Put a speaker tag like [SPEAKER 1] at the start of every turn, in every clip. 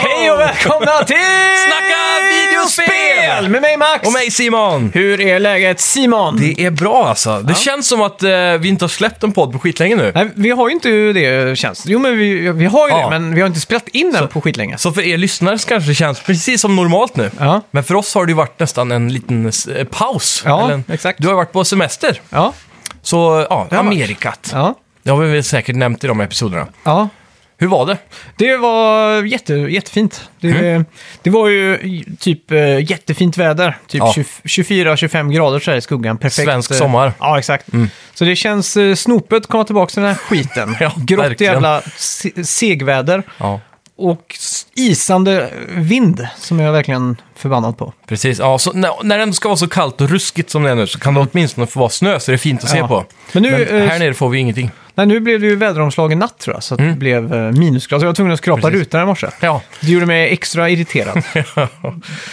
[SPEAKER 1] Hej och välkomna till
[SPEAKER 2] Snacka videospel!
[SPEAKER 1] Med mig Max!
[SPEAKER 2] Och mig Simon!
[SPEAKER 1] Hur är läget Simon?
[SPEAKER 2] Det är bra alltså. Det känns som att eh, vi inte har släppt en podd på skitlänge nu.
[SPEAKER 1] Nej, vi har ju inte det känns Jo, men vi, vi har ju
[SPEAKER 2] Ja.
[SPEAKER 1] det, men vi har inte spelat in den på skitlänge.
[SPEAKER 2] Så för er lyssnare så kanske det känns precis som normalt nu.
[SPEAKER 1] Ja.
[SPEAKER 2] Men för oss har det ju varit nästan en liten eh, paus.
[SPEAKER 1] Ja,
[SPEAKER 2] en,
[SPEAKER 1] exakt.
[SPEAKER 2] Du har varit på semester.
[SPEAKER 1] Ja,
[SPEAKER 2] Så ja,
[SPEAKER 1] har varit.
[SPEAKER 2] Amerikat.
[SPEAKER 1] ja,
[SPEAKER 2] Det har vi väl säkert nämnt i de episoderna.
[SPEAKER 1] ja.
[SPEAKER 2] Hur var det?
[SPEAKER 1] Det var jätte, jättefint. Det,
[SPEAKER 2] Mm.
[SPEAKER 1] det var ju typ eh, jättefint väder. Typ
[SPEAKER 2] Ja.
[SPEAKER 1] 24-25 grader så här i skuggan. Perfekt.
[SPEAKER 2] Svensk
[SPEAKER 1] eh,
[SPEAKER 2] sommar. Mm.
[SPEAKER 1] Ja, exakt. Så det känns eh, snopet att komma tillbaka till den här skiten.
[SPEAKER 2] Ja,
[SPEAKER 1] Grått
[SPEAKER 2] verkligen.
[SPEAKER 1] jävla se- segväder.
[SPEAKER 2] Ja,
[SPEAKER 1] och s- isande vind som jag är verkligen förbannad på.
[SPEAKER 2] precis. Ja, så när, när det ändå ska vara så kallt och ruskigt som det är nu så kan det åtminstone få vara snö så det är fint att se
[SPEAKER 1] Ja.
[SPEAKER 2] på.
[SPEAKER 1] Men nu, eh,
[SPEAKER 2] Men här nere får vi ingenting.
[SPEAKER 1] Nej, nu blev det ju väderomslag i natt tror jag, så att det blev eh, minusgrader. Jag var tvungen att skrapa
[SPEAKER 2] Precis.
[SPEAKER 1] rutan i morse.
[SPEAKER 2] Ja,
[SPEAKER 1] Det gjorde mig extra irriterad.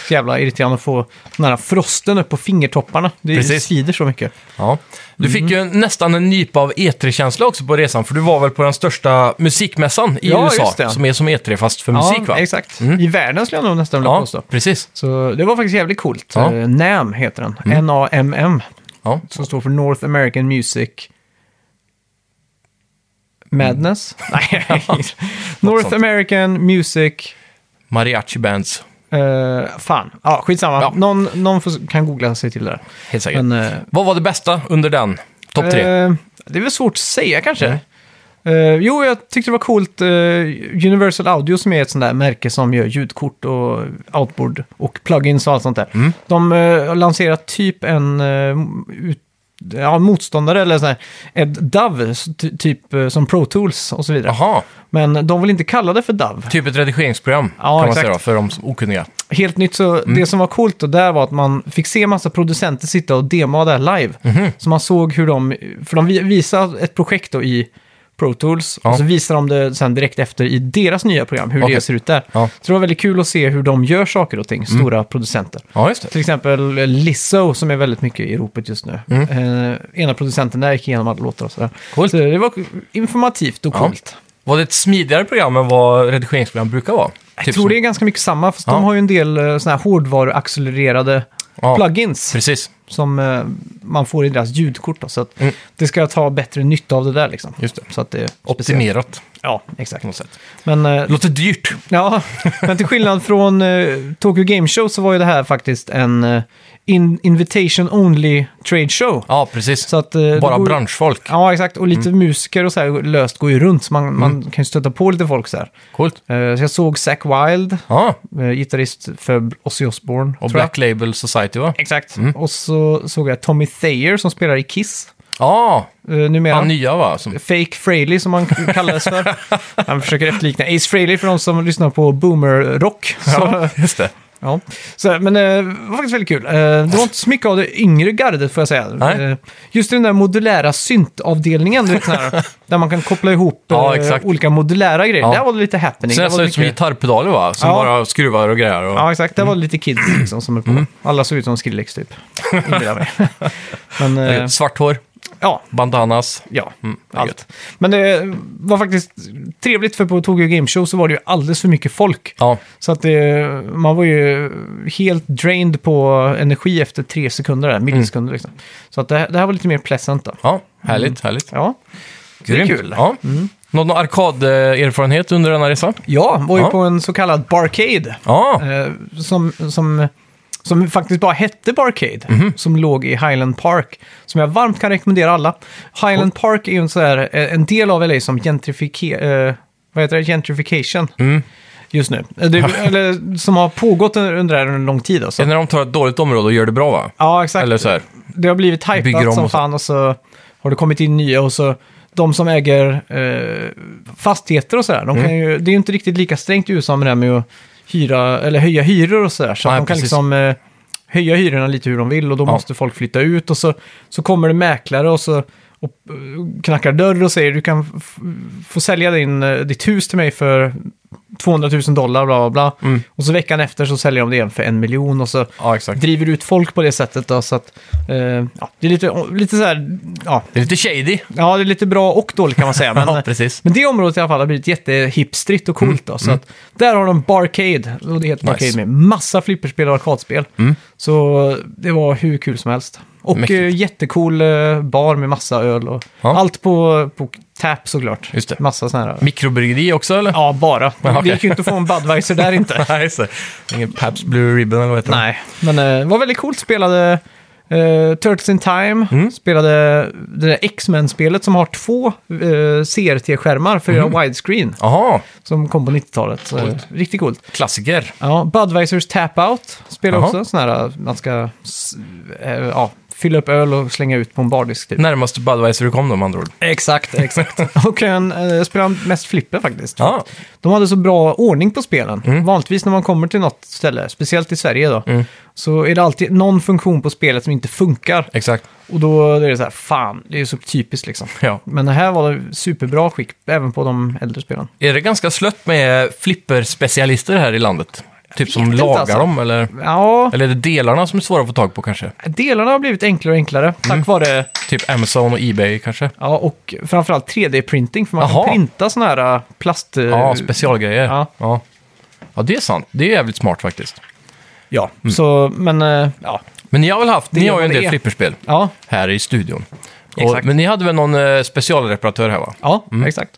[SPEAKER 1] så jävla irriterande att få den här frosten upp på fingertopparna. Det
[SPEAKER 2] Precis.
[SPEAKER 1] svider så mycket.
[SPEAKER 2] Ja. Du fick ju
[SPEAKER 1] Mm.
[SPEAKER 2] nästan en nypa av E3-känsla också på resan, för du var väl på den största musikmässan i
[SPEAKER 1] Ja, just
[SPEAKER 2] USA,
[SPEAKER 1] det.
[SPEAKER 2] som är som E3 fast för musik va? Mm.
[SPEAKER 1] exakt. I världen skulle jag nog nästan vilja
[SPEAKER 2] Ja,
[SPEAKER 1] påstå.
[SPEAKER 2] precis.
[SPEAKER 1] Så det var faktiskt jävligt coolt.
[SPEAKER 2] Ja. Mm.
[SPEAKER 1] Eh, NAM heter den. N-A-M-M.
[SPEAKER 2] Ja.
[SPEAKER 1] Som står för North American Music Madness. Nej, North
[SPEAKER 2] Mm. sånt.
[SPEAKER 1] American Music...
[SPEAKER 2] Mariachi Bands,
[SPEAKER 1] eh, fan, ja, skitsamma.
[SPEAKER 2] Ja.
[SPEAKER 1] Någon, någon får, kan googla sig till det. där.
[SPEAKER 2] helt säkert.
[SPEAKER 1] Men, eh,
[SPEAKER 2] Vad var det bästa under den? Topp tre?
[SPEAKER 1] eh, det är väl svårt att säga kanske.
[SPEAKER 2] Mm.
[SPEAKER 1] Eh, jo, jag tyckte det var coolt. eh, Universal Audio som är ett sånt där märke som gör ljudkort och outboard och plugins och allt sånt där.
[SPEAKER 2] Mm.
[SPEAKER 1] De eh, har lanserat typ en eh, ut, ja, motståndare eller sån här, ett DAV, så ty- typ eh, som Pro Tools och så vidare.
[SPEAKER 2] Jaha,
[SPEAKER 1] Men de vill inte kalla det för DAV.
[SPEAKER 2] typ ett redigeringsprogram
[SPEAKER 1] Ja,
[SPEAKER 2] kan man
[SPEAKER 1] exakt.
[SPEAKER 2] säga då, för de som- okunniga.
[SPEAKER 1] Helt nytt, så
[SPEAKER 2] Mm.
[SPEAKER 1] det som var coolt då där var att man fick se massa producenter sitta och dema där live.
[SPEAKER 2] Mhm.
[SPEAKER 1] Så man såg hur de, för de vi- visade ett projekt då i Pro Tools
[SPEAKER 2] Ja.
[SPEAKER 1] och så visade de det sen direkt efter i deras nya program, hur
[SPEAKER 2] Okej. Mm.
[SPEAKER 1] det ser ut där.
[SPEAKER 2] Ja.
[SPEAKER 1] Så det var väldigt kul att se hur de gör saker och ting, stora producenter.
[SPEAKER 2] Ja, just det.
[SPEAKER 1] Till exempel Lizzo som är väldigt mycket i ropet just nu. Eh, ena producenten där gick igenom alla låtar och sådär.
[SPEAKER 2] Mm. Coolt.
[SPEAKER 1] Så det var informativt och
[SPEAKER 2] Ja.
[SPEAKER 1] coolt.
[SPEAKER 2] Var det ett smidigare program än vad redigeringsprogram brukar vara?
[SPEAKER 1] Jag tror det är ganska mycket samma, fast
[SPEAKER 2] typ Ja.
[SPEAKER 1] de har ju en del eh, såna här hårdvaruaccelererade
[SPEAKER 2] Ja.
[SPEAKER 1] plugins
[SPEAKER 2] Precis,
[SPEAKER 1] som eh, man får i deras ljudkort. Då, så att
[SPEAKER 2] Mm.
[SPEAKER 1] det ska ta bättre nytta av det där liksom.
[SPEAKER 2] Just det. Mm.
[SPEAKER 1] Så att det är speciellt.
[SPEAKER 2] optimerat
[SPEAKER 1] Ja,
[SPEAKER 2] på
[SPEAKER 1] exakt.
[SPEAKER 2] något sätt.
[SPEAKER 1] Men, eh,
[SPEAKER 2] Låter dyrt.
[SPEAKER 1] ja, men till skillnad från eh, Tokyo Game Show så var ju det här faktiskt en eh, in invitation only trade show.
[SPEAKER 2] Ja, precis.
[SPEAKER 1] Så att, eh, det
[SPEAKER 2] Bara Mm.
[SPEAKER 1] går-
[SPEAKER 2] branschfolk.
[SPEAKER 1] Ja, exakt. Och lite musiker och så här löst går ju runt, så man,
[SPEAKER 2] Mm.
[SPEAKER 1] man kan ju stöta på lite folk så här.
[SPEAKER 2] Coolt.
[SPEAKER 1] Eh, så jag såg Zack Wild,
[SPEAKER 2] Ja,
[SPEAKER 1] eh, gitarrist för Ozzy Osbourne.
[SPEAKER 2] och
[SPEAKER 1] tror jag.
[SPEAKER 2] Black Mm. Label Society va?
[SPEAKER 1] Exakt. Och så såg jag Tommy Thayer som spelar i Kiss
[SPEAKER 2] Ja,
[SPEAKER 1] eh, numera.
[SPEAKER 2] han nya va? Som...
[SPEAKER 1] Fake Fraley som han kallades för. Han försöker efterlikna Ace Fraley för de som lyssnar på boomer-rock. Så,
[SPEAKER 2] just det.
[SPEAKER 1] ja. så, men eh, det var faktiskt väldigt kul. Eh, det var inte så mycket av det yngre gardet får jag säga.
[SPEAKER 2] Nej.
[SPEAKER 1] Eh, just den där modulära syntavdelningen, du vet, sån här, där man kan koppla ihop
[SPEAKER 2] Ja,
[SPEAKER 1] eh,
[SPEAKER 2] exakt.
[SPEAKER 1] olika modulära grejer.
[SPEAKER 2] Ja.
[SPEAKER 1] Där var det lite happening.
[SPEAKER 2] Ser
[SPEAKER 1] Där var
[SPEAKER 2] nästan
[SPEAKER 1] det
[SPEAKER 2] ut som
[SPEAKER 1] mycket-
[SPEAKER 2] gitarrpedaler va? Som
[SPEAKER 1] Ja.
[SPEAKER 2] bara skruvar och grejer. Och...
[SPEAKER 1] Ja, exakt. Där var det
[SPEAKER 2] Mm.
[SPEAKER 1] lite kids liksom, som är på. Alla såg ut som Skrillex typ. Inbillar mig. men, eh,
[SPEAKER 2] Svart hår,
[SPEAKER 1] ja,
[SPEAKER 2] bandanas. Mm,
[SPEAKER 1] Ja,
[SPEAKER 2] det är
[SPEAKER 1] allt. Men det var faktiskt trevligt för på Tokyo Game Show så var det ju alldeles för mycket folk.
[SPEAKER 2] Ja,
[SPEAKER 1] Så att det, man var ju helt drained på energi efter tre sekunder, där, millisekunder liksom. Så att det, det här var lite mer pleasant då.
[SPEAKER 2] ja härligt, härligt.
[SPEAKER 1] Ja, det är
[SPEAKER 2] Grymt.
[SPEAKER 1] Mm. kul. Mm.
[SPEAKER 2] Ja. Någon arkaderfarenhet under denna resa?
[SPEAKER 1] Ja, var ju
[SPEAKER 2] Ja.
[SPEAKER 1] på en så kallad barcade.
[SPEAKER 2] Ja,
[SPEAKER 1] Eh, som, som, som faktiskt bara hette Barcade, som låg i Highland Park. Som jag varmt kan rekommendera alla. Highland Park är ju en, så här, eh, en del av LA som gentrifika, eh, vad heter det? gentrification just nu. Eh, Det, eller som har pågått under under det här en lång tid. Alltså.
[SPEAKER 2] det är när de tar ett dåligt område och gör det bra va?
[SPEAKER 1] Ja, exakt.
[SPEAKER 2] Eller så här.
[SPEAKER 1] Det har blivit
[SPEAKER 2] Bygger om
[SPEAKER 1] hypat som
[SPEAKER 2] och så.
[SPEAKER 1] fan och så har det kommit in nya och så de som äger eh, fastigheter och sådär, de
[SPEAKER 2] Mm.
[SPEAKER 1] kan ju, det är ju inte riktigt lika strängt i USA med det här med att hyra, eller höja hyror och sådär. Så
[SPEAKER 2] Nej,
[SPEAKER 1] de kan
[SPEAKER 2] precis.
[SPEAKER 1] liksom eh, höja hyrorna lite hur de vill och då
[SPEAKER 2] Ja.
[SPEAKER 1] måste folk flytta ut och så, så kommer det mäklare och så och eh, knackar dörr och säger du kan f- få sälja din, eh, ditt hus till mig för 200 000 dollar, bla bla bla.
[SPEAKER 2] Mm.
[SPEAKER 1] Och så veckan efter så säljer de det igen för en miljon och så
[SPEAKER 2] Ja, exakt.
[SPEAKER 1] driver ut folk på det sättet. Då, så att, eh, ja, det är lite, lite så här, ja,
[SPEAKER 2] Det är lite shady.
[SPEAKER 1] ja, det är lite bra och dåligt kan man säga. Men, eh,
[SPEAKER 2] Ja, precis.
[SPEAKER 1] men det området i alla fall har blivit jättehipstrigt och coolt. Då, så att, där har de Barcade, och det heter Barcade
[SPEAKER 2] Mm. Nice. Mm.
[SPEAKER 1] med massa flipperspel och arkadspel. Så det var hur kul som helst. Och
[SPEAKER 2] Mäktigt.
[SPEAKER 1] eh, jättecool eh, bar med massa öl och
[SPEAKER 2] Ja.
[SPEAKER 1] allt på, på tap såklart.
[SPEAKER 2] Just det.
[SPEAKER 1] Massa sådana här.
[SPEAKER 2] Mikrobryggeri också eller?
[SPEAKER 1] Ja, bara.
[SPEAKER 2] Ja,
[SPEAKER 1] Det
[SPEAKER 2] okej.
[SPEAKER 1] gick ju inte att få en Budweiser där inte.
[SPEAKER 2] Nej, just det. Ingen Pabst Blue Ribbon eller vad heter
[SPEAKER 1] Nej, men eh, det var väldigt coolt. Spelade eh, Turtles in Time, spelade det där X-Men-spelet som har två eh, CRT-skärmar för att göra widescreen.
[SPEAKER 2] det? Jaha,
[SPEAKER 1] Som kom på 90-talet. Så, eh,
[SPEAKER 2] Coolt.
[SPEAKER 1] Riktigt Mm. coolt.
[SPEAKER 2] klassiker.
[SPEAKER 1] Ja, Budweisers Tap Out spelar
[SPEAKER 2] Jaha.
[SPEAKER 1] också. Sån här, eh, man ska s- eh, ja, fylla upp öl och slänga ut på en bardisk typ.
[SPEAKER 2] Närmast Budweiser du kom då med andra ord.
[SPEAKER 1] Exakt, exakt. och kan eh, spela mest flipper faktiskt.
[SPEAKER 2] Ja,
[SPEAKER 1] De hade så bra ordning på spelen.
[SPEAKER 2] Mm.
[SPEAKER 1] Vanligtvis när man kommer till något ställe, speciellt i Sverige då, så är det alltid någon funktion på spelet som inte funkar.
[SPEAKER 2] exakt.
[SPEAKER 1] Och då är det så här, fan, det är ju så typiskt liksom.
[SPEAKER 2] Ja.
[SPEAKER 1] Men det här var det superbra skick, även på de äldre spelen.
[SPEAKER 2] Är det ganska slött med flipperspecialister här i landet? Typ som
[SPEAKER 1] vet inte,
[SPEAKER 2] lagar
[SPEAKER 1] alltså.
[SPEAKER 2] dem eller?
[SPEAKER 1] Ja,
[SPEAKER 2] Eller är det delarna som är svåra att få tag på kanske?
[SPEAKER 1] delarna har blivit enklare och enklare tack vare,
[SPEAKER 2] Typ Amazon och Ebay kanske?
[SPEAKER 1] ja, och framförallt 3D-printing, för man
[SPEAKER 2] Jaha.
[SPEAKER 1] kan printa sådana här äh, plast... eh,
[SPEAKER 2] Ja, specialgrejer.
[SPEAKER 1] Ja.
[SPEAKER 2] Ja. ja, det är sant. Det är jävligt smart faktiskt.
[SPEAKER 1] ja.
[SPEAKER 2] mm.
[SPEAKER 1] Så, men, eh, ja.
[SPEAKER 2] Men ni har väl haft, ni
[SPEAKER 1] är
[SPEAKER 2] har ju en
[SPEAKER 1] vad det
[SPEAKER 2] del
[SPEAKER 1] är.
[SPEAKER 2] flipperspel
[SPEAKER 1] Ja,
[SPEAKER 2] här i studion. Och,
[SPEAKER 1] Exakt.
[SPEAKER 2] men ni hade väl någon eh, specialreparatör här va?
[SPEAKER 1] ja exakt.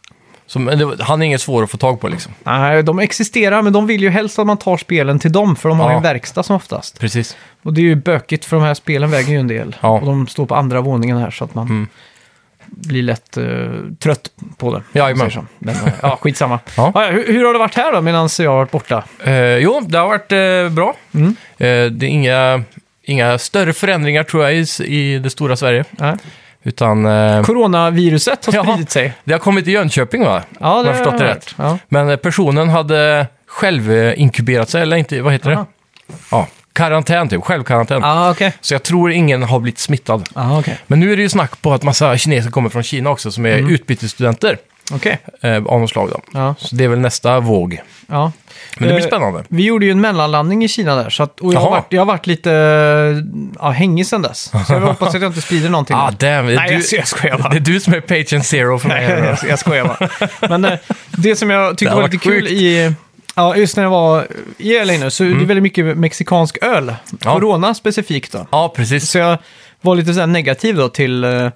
[SPEAKER 2] Som, men det, var- han är ingen svår att få tag på liksom.
[SPEAKER 1] Nej, de existerar, men de vill ju helst att man tar spelen till dem, för de har
[SPEAKER 2] Ja.
[SPEAKER 1] ju en verkstad som oftast.
[SPEAKER 2] Precis.
[SPEAKER 1] Och det är ju bökigt, för de här spelen väger ju en del.
[SPEAKER 2] Ja. Mm.
[SPEAKER 1] Och de står på andra våningen här, så att man blir lätt eh, trött på
[SPEAKER 2] Ja,
[SPEAKER 1] det. om man
[SPEAKER 2] jajamän.
[SPEAKER 1] säger så. Men, eh, ja, skitsamma.
[SPEAKER 2] Ja.
[SPEAKER 1] ja. Ja, hur, hur har det varit här då, medan jag har varit borta?
[SPEAKER 2] Eh, jo, det har varit eh, bra.
[SPEAKER 1] Mm.
[SPEAKER 2] Eh, det är inga, inga större förändringar tror jag i, s- i det stora Sverige.
[SPEAKER 1] Nej.
[SPEAKER 2] Utan eh,
[SPEAKER 1] Coronaviruset har
[SPEAKER 2] Ja.
[SPEAKER 1] spridit sig.
[SPEAKER 2] det har kommit till Jönköping va?
[SPEAKER 1] Ja,
[SPEAKER 2] Om jag förstått det rätt.
[SPEAKER 1] Ja.
[SPEAKER 2] Men eh, personen hade själv eh, inkuberat sig, eller inte, vad heter
[SPEAKER 1] Aha.
[SPEAKER 2] det? Ja, karantän typ, självkarantän.
[SPEAKER 1] Ah, okej.
[SPEAKER 2] Så jag tror ingen har blivit smittad.
[SPEAKER 1] Ah, okej.
[SPEAKER 2] Men nu är det ju snack på att massa kineser kommer från Kina också som är
[SPEAKER 1] Mm.
[SPEAKER 2] utbytesstudenter
[SPEAKER 1] Okej.
[SPEAKER 2] eh, av något slag. Då.
[SPEAKER 1] Ja.
[SPEAKER 2] Så det är väl nästa våg.
[SPEAKER 1] ja.
[SPEAKER 2] Men det blir
[SPEAKER 1] Eh,
[SPEAKER 2] spännande.
[SPEAKER 1] Vi gjorde ju en mellanlandning i Kina där, så att, och jag har,
[SPEAKER 2] Jaha.
[SPEAKER 1] varit, jag har varit lite ja, hängig sedan dess. Så jag hoppas att jag inte sprider någonting.
[SPEAKER 2] Ah, damn, det, är
[SPEAKER 1] Nej, jag,
[SPEAKER 2] du,
[SPEAKER 1] jag skojar bara.
[SPEAKER 2] det är du som är patient zero för mig.
[SPEAKER 1] Nej,
[SPEAKER 2] här då.
[SPEAKER 1] jag, jag skojar bara. Men eh, det som jag
[SPEAKER 2] Det
[SPEAKER 1] tyckte
[SPEAKER 2] här
[SPEAKER 1] var
[SPEAKER 2] var
[SPEAKER 1] lite kul
[SPEAKER 2] sjukt. Mm.
[SPEAKER 1] i... Ja, just när jag var i LA nu, så det är väldigt mycket mexikansk öl.
[SPEAKER 2] Ja.
[SPEAKER 1] Corona specifikt då.
[SPEAKER 2] Ja, precis.
[SPEAKER 1] Så jag var lite så här negativ då till, eh,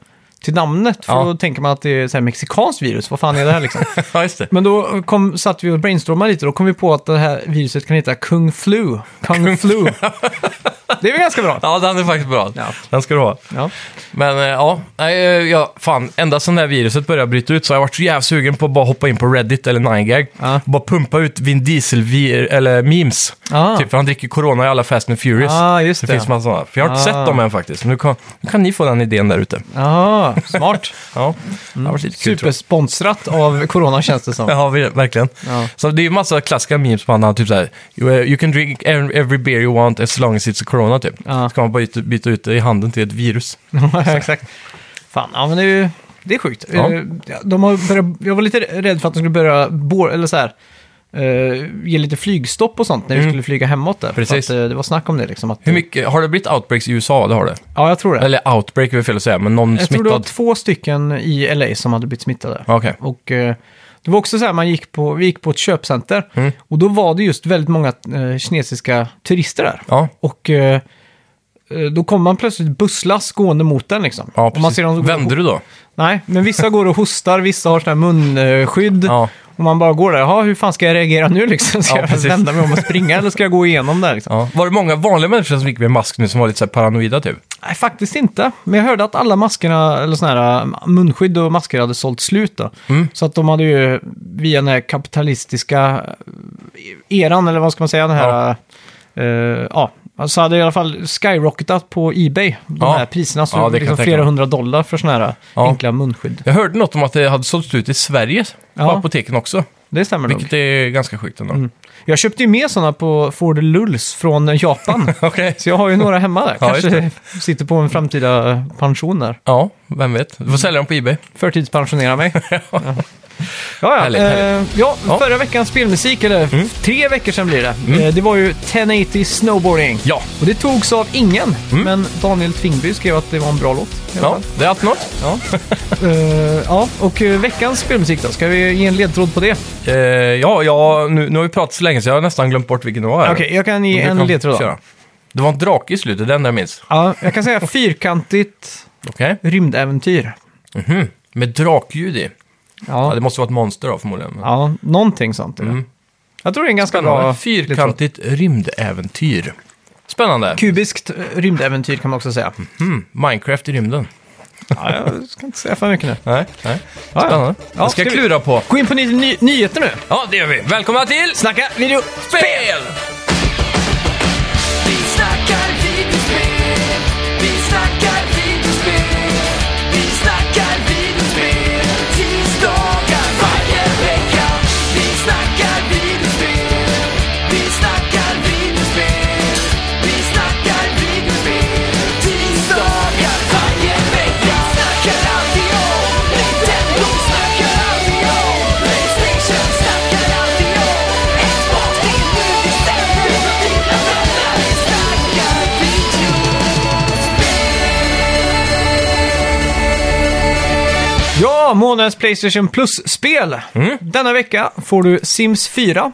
[SPEAKER 1] till namnet, för
[SPEAKER 2] Ja.
[SPEAKER 1] då tänker man att det är så här mexikanskt virus, vad fan är det här liksom?
[SPEAKER 2] ja, just det.
[SPEAKER 1] Men då kom, satt vi och brainstormade lite, då kom vi på att det här viruset kan heta Kung Flu. Kung, Flu. det är väl ganska bra?
[SPEAKER 2] Ja, den är faktiskt bra.
[SPEAKER 1] Ja.
[SPEAKER 2] Den ska du ha.
[SPEAKER 1] Ja.
[SPEAKER 2] Men eh, ja, nej, eh, ja, fan, ända sedan det här viruset började bryta ut så har jag varit så jävla sugen på att bara hoppa in på Reddit eller 9gag.
[SPEAKER 1] Ja.
[SPEAKER 2] Bara pumpa ut Vin Diesel vir- eller memes.
[SPEAKER 1] Ah.
[SPEAKER 2] Typ, för han dricker corona i alla Fast and Furious.
[SPEAKER 1] Ah, just
[SPEAKER 2] det
[SPEAKER 1] det.
[SPEAKER 2] finns massa sådana. För jag har inte
[SPEAKER 1] Ah.
[SPEAKER 2] sett dem än faktiskt. Men nu kan, nu kan ni få den idén där ute.
[SPEAKER 1] Ah, smart.
[SPEAKER 2] Ja, det
[SPEAKER 1] Mm.
[SPEAKER 2] har varit lite kul tror
[SPEAKER 1] Supersponsrat av Corona känns det som.
[SPEAKER 2] jag. Ja, ver- verkligen.
[SPEAKER 1] Ja.
[SPEAKER 2] Så det är ju massa klassiska memes på andra, typ såhär, you, eh, you can drink every beer you want as long as it's a corona, typ.
[SPEAKER 1] Ja.
[SPEAKER 2] Så kan man bara byta, byta ut det i handen till ett virus.
[SPEAKER 1] Ja, exakt. Fan, ja men det är ju... Det är sjukt.
[SPEAKER 2] Ja.
[SPEAKER 1] Eh, De har börjat, jag var lite rädd för att de skulle börja bor, eller så här, eh, ge lite flygstopp och sånt när vi skulle flyga hemåt där. För
[SPEAKER 2] Mm. Precis.
[SPEAKER 1] Att, eh, det var snack om det liksom. Att,
[SPEAKER 2] Hur mycket, har det blivit outbreaks i USA? Det har det.
[SPEAKER 1] Ja, jag tror det.
[SPEAKER 2] Eller outbreak är väl fel att säga, men någon
[SPEAKER 1] jag tror det var
[SPEAKER 2] smittad.
[SPEAKER 1] två stycken i LA som hade blivit smittade.
[SPEAKER 2] Okej.
[SPEAKER 1] Och eh, det var också så här, man gick på, vi gick på ett köpcenter
[SPEAKER 2] Mm.
[SPEAKER 1] och då var det just väldigt många eh, kinesiska turister där.
[SPEAKER 2] Ja.
[SPEAKER 1] Och eh, eh, då kom man plötsligt busslass gående mot den liksom.
[SPEAKER 2] Ja,
[SPEAKER 1] och man
[SPEAKER 2] precis.
[SPEAKER 1] ser dem
[SPEAKER 2] Vände du då?
[SPEAKER 1] Nej, men vissa går och hostar, vissa har sådana här munskydd.
[SPEAKER 2] Ja.
[SPEAKER 1] Och man bara går där, jaha, hur fan ska jag reagera nu liksom? Ska
[SPEAKER 2] Ja,
[SPEAKER 1] jag
[SPEAKER 2] precis.
[SPEAKER 1] vända mig om och springa eller ska jag gå igenom där liksom?
[SPEAKER 2] ja. Var det många vanliga människor som gick med mask nu som var lite så här paranoida typ?
[SPEAKER 1] Nej, faktiskt inte. Men jag hörde att alla maskerna, eller sådana här äh, munskydd och masker hade sålt slut då.
[SPEAKER 2] Mm.
[SPEAKER 1] Så att de hade ju, via den här kapitalistiska eh, eran, eller vad ska man säga, den här... Ja. ja. Så hade i alla fall skyrocketat på Ebay, de
[SPEAKER 2] Ja.
[SPEAKER 1] här priserna. Så
[SPEAKER 2] Ja, det kan
[SPEAKER 1] liksom
[SPEAKER 2] jag tänka
[SPEAKER 1] flera
[SPEAKER 2] mig.
[SPEAKER 1] hundra dollar för sådana här
[SPEAKER 2] Ja.
[SPEAKER 1] enkla munskydd.
[SPEAKER 2] Jag hörde något om att det hade sålts ut i Sverige på
[SPEAKER 1] Ja. Mm.
[SPEAKER 2] apoteken också,
[SPEAKER 1] Det stämmer nog.
[SPEAKER 2] vilket är ganska sjukt ändå.
[SPEAKER 1] Jag köpte ju med sådana på Ford Lulls från Japan.
[SPEAKER 2] Okej.
[SPEAKER 1] så jag har ju några hemma där.
[SPEAKER 2] Ja,
[SPEAKER 1] Kanske sitter på en framtida pension där.
[SPEAKER 2] Ja, Vem vet? Du får sälja dem på Ebay.
[SPEAKER 1] Förtidspensionera mig. ja, ja.
[SPEAKER 2] Härligt,
[SPEAKER 1] eh, ja
[SPEAKER 2] Ja. Mm.
[SPEAKER 1] förra veckans spelmusik, eller tre veckor sedan blir det. Eh, det var ju 1080 Snowboarding.
[SPEAKER 2] Ja. Mm.
[SPEAKER 1] Och det togs av ingen, men Daniel Tvingby skrev att det var en bra låt. i alla
[SPEAKER 2] Ja,
[SPEAKER 1] fall.
[SPEAKER 2] det är allt något.
[SPEAKER 1] Ja. Eh, ja, och eh, veckans spelmusik då? Ska vi ge en ledtråd på det?
[SPEAKER 2] Eh, ja, ja nu, nu har vi pratat så länge så jag har nästan glömt bort vilken det var. här.
[SPEAKER 1] Okej, jag kan
[SPEAKER 2] Du
[SPEAKER 1] ge en
[SPEAKER 2] kan
[SPEAKER 1] ledtråd då.
[SPEAKER 2] köra. Det var en drake i slutet, den där jag minns.
[SPEAKER 1] Ja, jag kan säga fyrkantigt
[SPEAKER 2] Okej.
[SPEAKER 1] rymdäventyr.
[SPEAKER 2] Mhm. Med drakljud i. Ja,
[SPEAKER 1] Ja,
[SPEAKER 2] det måste vara ett monster då förmodligen. men-
[SPEAKER 1] ja någonting sånt. är det.
[SPEAKER 2] Mm.
[SPEAKER 1] Jag tror det är en ganska
[SPEAKER 2] Spännande.
[SPEAKER 1] bra ledtråd.
[SPEAKER 2] Fyrkantigt rymdäventyr. Spännande.
[SPEAKER 1] Kubiskt eh, rymdäventyr kan man också säga.
[SPEAKER 2] Mm. Minecraft i rymden.
[SPEAKER 1] Ja, jag ska inte säga för mycket nu.
[SPEAKER 2] Nej, nej.
[SPEAKER 1] Ja, ja.
[SPEAKER 2] Spännande.
[SPEAKER 1] Ja,
[SPEAKER 2] det ska jag
[SPEAKER 1] ska vi-
[SPEAKER 2] klura på.
[SPEAKER 1] Gå in på ny ny nyheter nu.
[SPEAKER 2] Ja, det gör vi. Välkomna till
[SPEAKER 1] Snacka video.
[SPEAKER 2] Spel!
[SPEAKER 3] Vi snackar videospel, vi snackar videospel, vi snackar videospel, tisdagar varje vecka. Vi snackar videospel, vi snackar videospel, vi snackar videospel, tisdagar varje vecka. Snackar alltid om Nintendo, snackar alltid om Playstation, snackar alltid om Xbox, det är nu vi stämmer, dina vänner. Vi snackar video.
[SPEAKER 1] Ja, månadens Playstation Plus-spel.
[SPEAKER 2] Mm.
[SPEAKER 1] Denna vecka får du Sims 4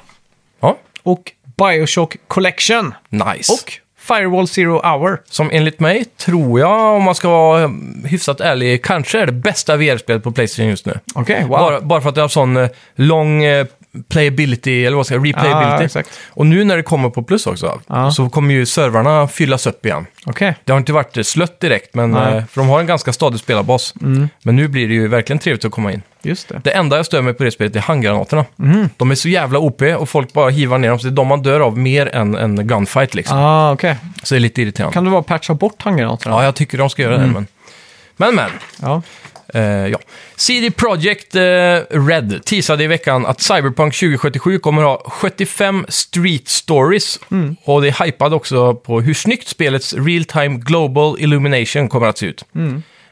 [SPEAKER 2] Ja,
[SPEAKER 1] och Bioshock Collection.
[SPEAKER 2] nice.
[SPEAKER 1] Och Firewall Zero Hour.
[SPEAKER 2] Som enligt mig, tror jag, om man ska vara eh, hyfsat ärlig, kanske är det bästa VR-spelet på Playstation just nu.
[SPEAKER 1] Okej, wow.
[SPEAKER 2] Bara, bara för att det har sån eh, lång eh, playability, eller vad ska jag säga,
[SPEAKER 1] Ja,
[SPEAKER 2] replayability.
[SPEAKER 1] exakt.
[SPEAKER 2] och nu när det kommer på plus också,
[SPEAKER 1] Ja.
[SPEAKER 2] så kommer ju servrarna fyllas upp igen.
[SPEAKER 1] Okej.
[SPEAKER 2] Det har inte varit eh, slött direkt, men,
[SPEAKER 1] Nej. Mm.
[SPEAKER 2] eh, för de har en ganska stadig spelarbas. Men nu blir det ju verkligen trevligt att komma in.
[SPEAKER 1] Just det.
[SPEAKER 2] Det enda jag stör mig på det spelet är handgranaterna.
[SPEAKER 1] Mm.
[SPEAKER 2] De är så jävla OP och folk bara hivar ner dem, så det är de man dör av mer än en gunfight liksom.
[SPEAKER 1] Ah, okej.
[SPEAKER 2] Så det är lite irriterande.
[SPEAKER 1] Kan Mm. du bara patcha bort handgranaterna?
[SPEAKER 2] Ja, jag tycker de ska göra det, men... Men, men.
[SPEAKER 1] Ja.
[SPEAKER 2] Eh, ja. CD Projekt eh, Red teasade i veckan att Cyberpunk 2077 kommer ha 75 street stories. Och det hypade också på hur snyggt spelets real-time global illumination kommer att se ut.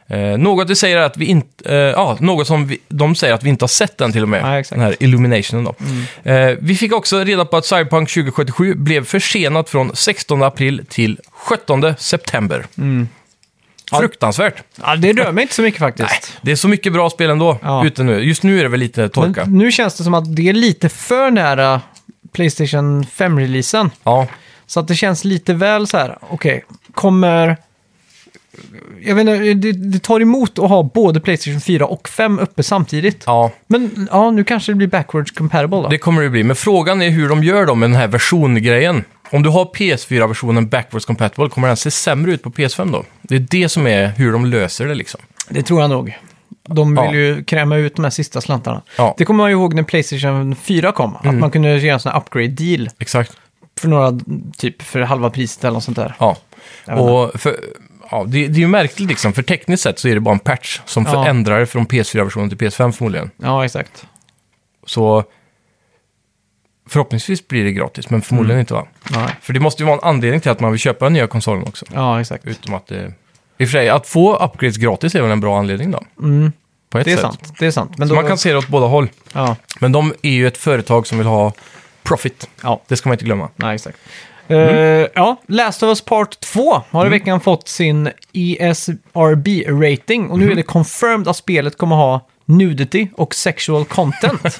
[SPEAKER 2] Eh, något, det säger att vi inte, eh, ja, något som vi, de säger att vi inte har sett den till och med,
[SPEAKER 1] Nej, exakt.
[SPEAKER 2] den här illuminationen. Då. Eh, vi fick också reda på att Cyberpunk 2077 blev försenat från 16 april till 17 september. Fruktansvärt!
[SPEAKER 1] ja. Det rör mig inte så mycket faktiskt.
[SPEAKER 2] Det är så mycket bra spel ändå
[SPEAKER 1] Ja.
[SPEAKER 2] ute nu. Just nu är det väl lite
[SPEAKER 1] Men
[SPEAKER 2] torka.
[SPEAKER 1] nu känns det som att det är lite för nära Playstation 5-releasen.
[SPEAKER 2] Ja.
[SPEAKER 1] Så att det känns lite väl så här, okej, kommer... Jag vet inte, det, det tar emot att ha både Playstation 4 och 5 uppe samtidigt.
[SPEAKER 2] ja,
[SPEAKER 1] Men ja, nu kanske det blir backwards compatible då.
[SPEAKER 2] det kommer det bli. Men frågan är hur de gör då med den här versiongrejen. Om du har PS4-versionen backwards compatible, kommer den se sämre ut på PS5 då? Det är det som är hur de löser det liksom.
[SPEAKER 1] Det tror jag nog. De vill
[SPEAKER 2] Ja.
[SPEAKER 1] ju kräma ut de här sista slantarna.
[SPEAKER 2] Ja. Mm.
[SPEAKER 1] Det kommer man ju ihåg när Playstation 4 kom. Att man kunde göra en sån här upgrade-deal
[SPEAKER 2] Exakt.
[SPEAKER 1] för några, typ för halva priset eller något sånt där.
[SPEAKER 2] Ja.
[SPEAKER 1] Jag vet
[SPEAKER 2] Och för, ja, det, det är ju märkligt liksom, för tekniskt sett så är det bara en patch som
[SPEAKER 1] Ja.
[SPEAKER 2] förändrar det från PS4-versionen till PS5 förmodligen.
[SPEAKER 1] Ja, exakt.
[SPEAKER 2] Så förhoppningsvis blir det gratis, men
[SPEAKER 1] Mm.
[SPEAKER 2] förmodligen inte va?
[SPEAKER 1] Nej.
[SPEAKER 2] För det måste ju vara en anledning till att man vill köpa den nya konsolen också.
[SPEAKER 1] Ja, exakt.
[SPEAKER 2] Utom att det... I och för sig, att få upgrades gratis är väl en bra anledning då? På ett
[SPEAKER 1] Mm. Det är
[SPEAKER 2] sätt.
[SPEAKER 1] sant. Det är sant. Men
[SPEAKER 2] Så
[SPEAKER 1] då,
[SPEAKER 2] man kan se det åt båda håll.
[SPEAKER 1] ja,
[SPEAKER 2] Men de är ju ett företag som vill ha profit.
[SPEAKER 1] ja,
[SPEAKER 2] Det ska man inte glömma.
[SPEAKER 1] nej, exakt.
[SPEAKER 2] Mm.
[SPEAKER 1] Eh, ja, Last of Us Part 2 har i veckan fått sin E ESRB-rating och nu
[SPEAKER 2] Mhm.
[SPEAKER 1] är det confirmed att spelet kommer ha nudity och sexual content.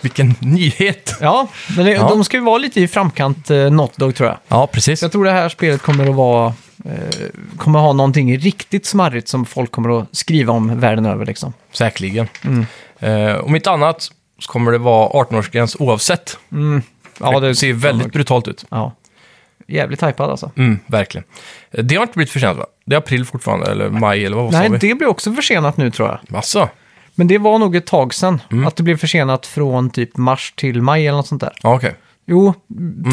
[SPEAKER 2] Vilken nyhet!
[SPEAKER 1] ja, men det,
[SPEAKER 2] Ja.
[SPEAKER 1] de ska ju vara lite i framkant, uh, Not Dog, tror jag.
[SPEAKER 2] Ja, precis.
[SPEAKER 1] Jag tror det här spelet kommer att vara... Eh, kommer ha någonting riktigt smarrigt som folk kommer att skriva om världen över liksom.
[SPEAKER 2] Säkerligen.
[SPEAKER 1] Mm.
[SPEAKER 2] Eh, om inte annat så kommer det vara 18-årsgräns oavsett.
[SPEAKER 1] Ja,
[SPEAKER 2] det ser ju väldigt brutalt ut.
[SPEAKER 1] Ja. Jävligt hypad alltså.
[SPEAKER 2] Mm, verkligen. Eh, Det har inte blivit försenat va? Det är april fortfarande, eller maj, eller vad sa
[SPEAKER 1] Nej,
[SPEAKER 2] vi?
[SPEAKER 1] det blir också försenat nu tror jag.
[SPEAKER 2] Massa. Mm.
[SPEAKER 1] Men det var nog ett tag sedan. Att det blev försenat från typ mars till maj eller något sånt där.
[SPEAKER 2] Ja, okej.
[SPEAKER 1] Jo,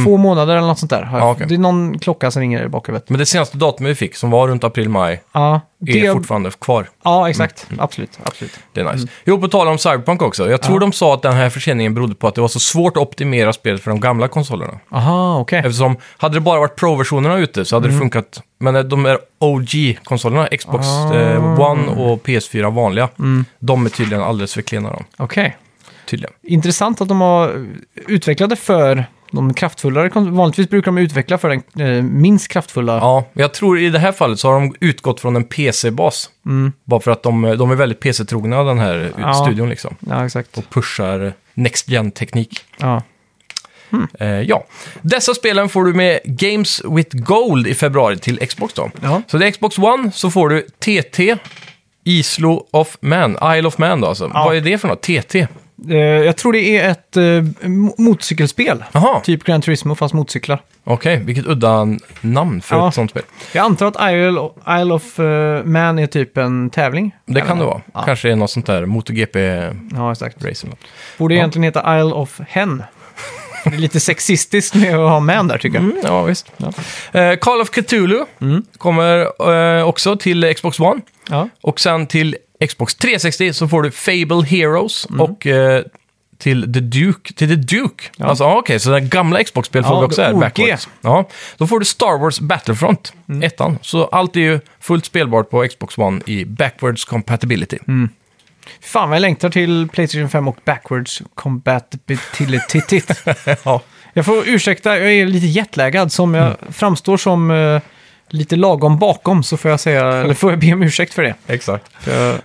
[SPEAKER 1] två månader eller något sånt där. har jag-
[SPEAKER 2] Ja, Mm. Ah, okej.
[SPEAKER 1] Det är någon klocka som ringer i bakhuvudet.
[SPEAKER 2] Men det senaste datumet vi fick, som var runt april-maj,
[SPEAKER 1] Ja,
[SPEAKER 2] är Mm.
[SPEAKER 1] det,
[SPEAKER 2] fortfarande kvar.
[SPEAKER 1] ja exakt. Absolut. absolut.
[SPEAKER 2] Det är nice. Jo, på tal om Cyberpunk också. Jag tror de sa att den här förseningen berodde på att det var så svårt att optimera spelet för de gamla konsolerna.
[SPEAKER 1] Aha, okej.
[SPEAKER 2] Eftersom, hade det bara varit Pro-versionerna ute så hade det funkat. Men eh, de där OG-konsolerna, Xbox eh, One och PS4 vanliga, de är tydligen alldeles för klena. De,
[SPEAKER 1] Okej.
[SPEAKER 2] tydligen.
[SPEAKER 1] Intressant att de har utvecklat det för de kraftfullare. kon- Vanligtvis brukar de utveckla för den eh, minst kraftfulla.
[SPEAKER 2] Ja, men jag tror i det här fallet så har de utgått från en PC-bas. Bara för att de, de är väldigt PC-trogna, den här
[SPEAKER 1] Ja.
[SPEAKER 2] studion liksom.
[SPEAKER 1] Ja, exakt.
[SPEAKER 2] Pushar Next Gen-teknik.
[SPEAKER 1] Ja.
[SPEAKER 2] Eh, ja. Dessa spelen får du med Games with Gold i februari till Xbox då.
[SPEAKER 1] Ja.
[SPEAKER 2] Så det är Xbox One så får du TT, Islo of Man, Isle of Man då alltså.
[SPEAKER 1] Ja.
[SPEAKER 2] Vad är det för något? TT?
[SPEAKER 1] Eh, jag tror det är ett eh, mo- motorcykelspel.
[SPEAKER 2] Jaha,
[SPEAKER 1] Typ Gran Turismo fast motorcyklar.
[SPEAKER 2] okej. Vilket udda namn för
[SPEAKER 1] Ja.
[SPEAKER 2] ett sånt spel.
[SPEAKER 1] Jag antar att Isle of, Isle of eh, Man är typ en tävling.
[SPEAKER 2] Det kan det vara.
[SPEAKER 1] Ja.
[SPEAKER 2] Kanske är något sånt där MotoGP-race
[SPEAKER 1] Ja, exakt.
[SPEAKER 2] eller något.
[SPEAKER 1] Borde egentligen heta Isle of Hen. Det är lite sexistiskt med att ha Man där tycker jag.
[SPEAKER 2] Mm, ja, visst. Eh, Call of Cthulhu
[SPEAKER 1] Mm.
[SPEAKER 2] kommer eh, också till Xbox One.
[SPEAKER 1] Ja.
[SPEAKER 2] Och sen till Xbox 360 så får du Fable Heroes och eh, till The Duke. Till The Duke. Alltså, ah, okej, så den gamla Xbox-spel får
[SPEAKER 1] Ja,
[SPEAKER 2] vi också här,
[SPEAKER 1] OG.
[SPEAKER 2] backwards. Ja, då får du Star Wars Battlefront, ettan. Så allt är ju fullt spelbart på Xbox One i backwards compatibility.
[SPEAKER 1] Fan vad jag längtar till Playstation 5 och Backwards Compatibility.
[SPEAKER 2] Ja. Mm.
[SPEAKER 1] jag får ursäkta, jag är lite jetlaggad. Som jag framstår som eh, lite lagom bakom så får jag säga, eller får jag be om ursäkt för det.
[SPEAKER 2] Exakt.
[SPEAKER 1] För jag,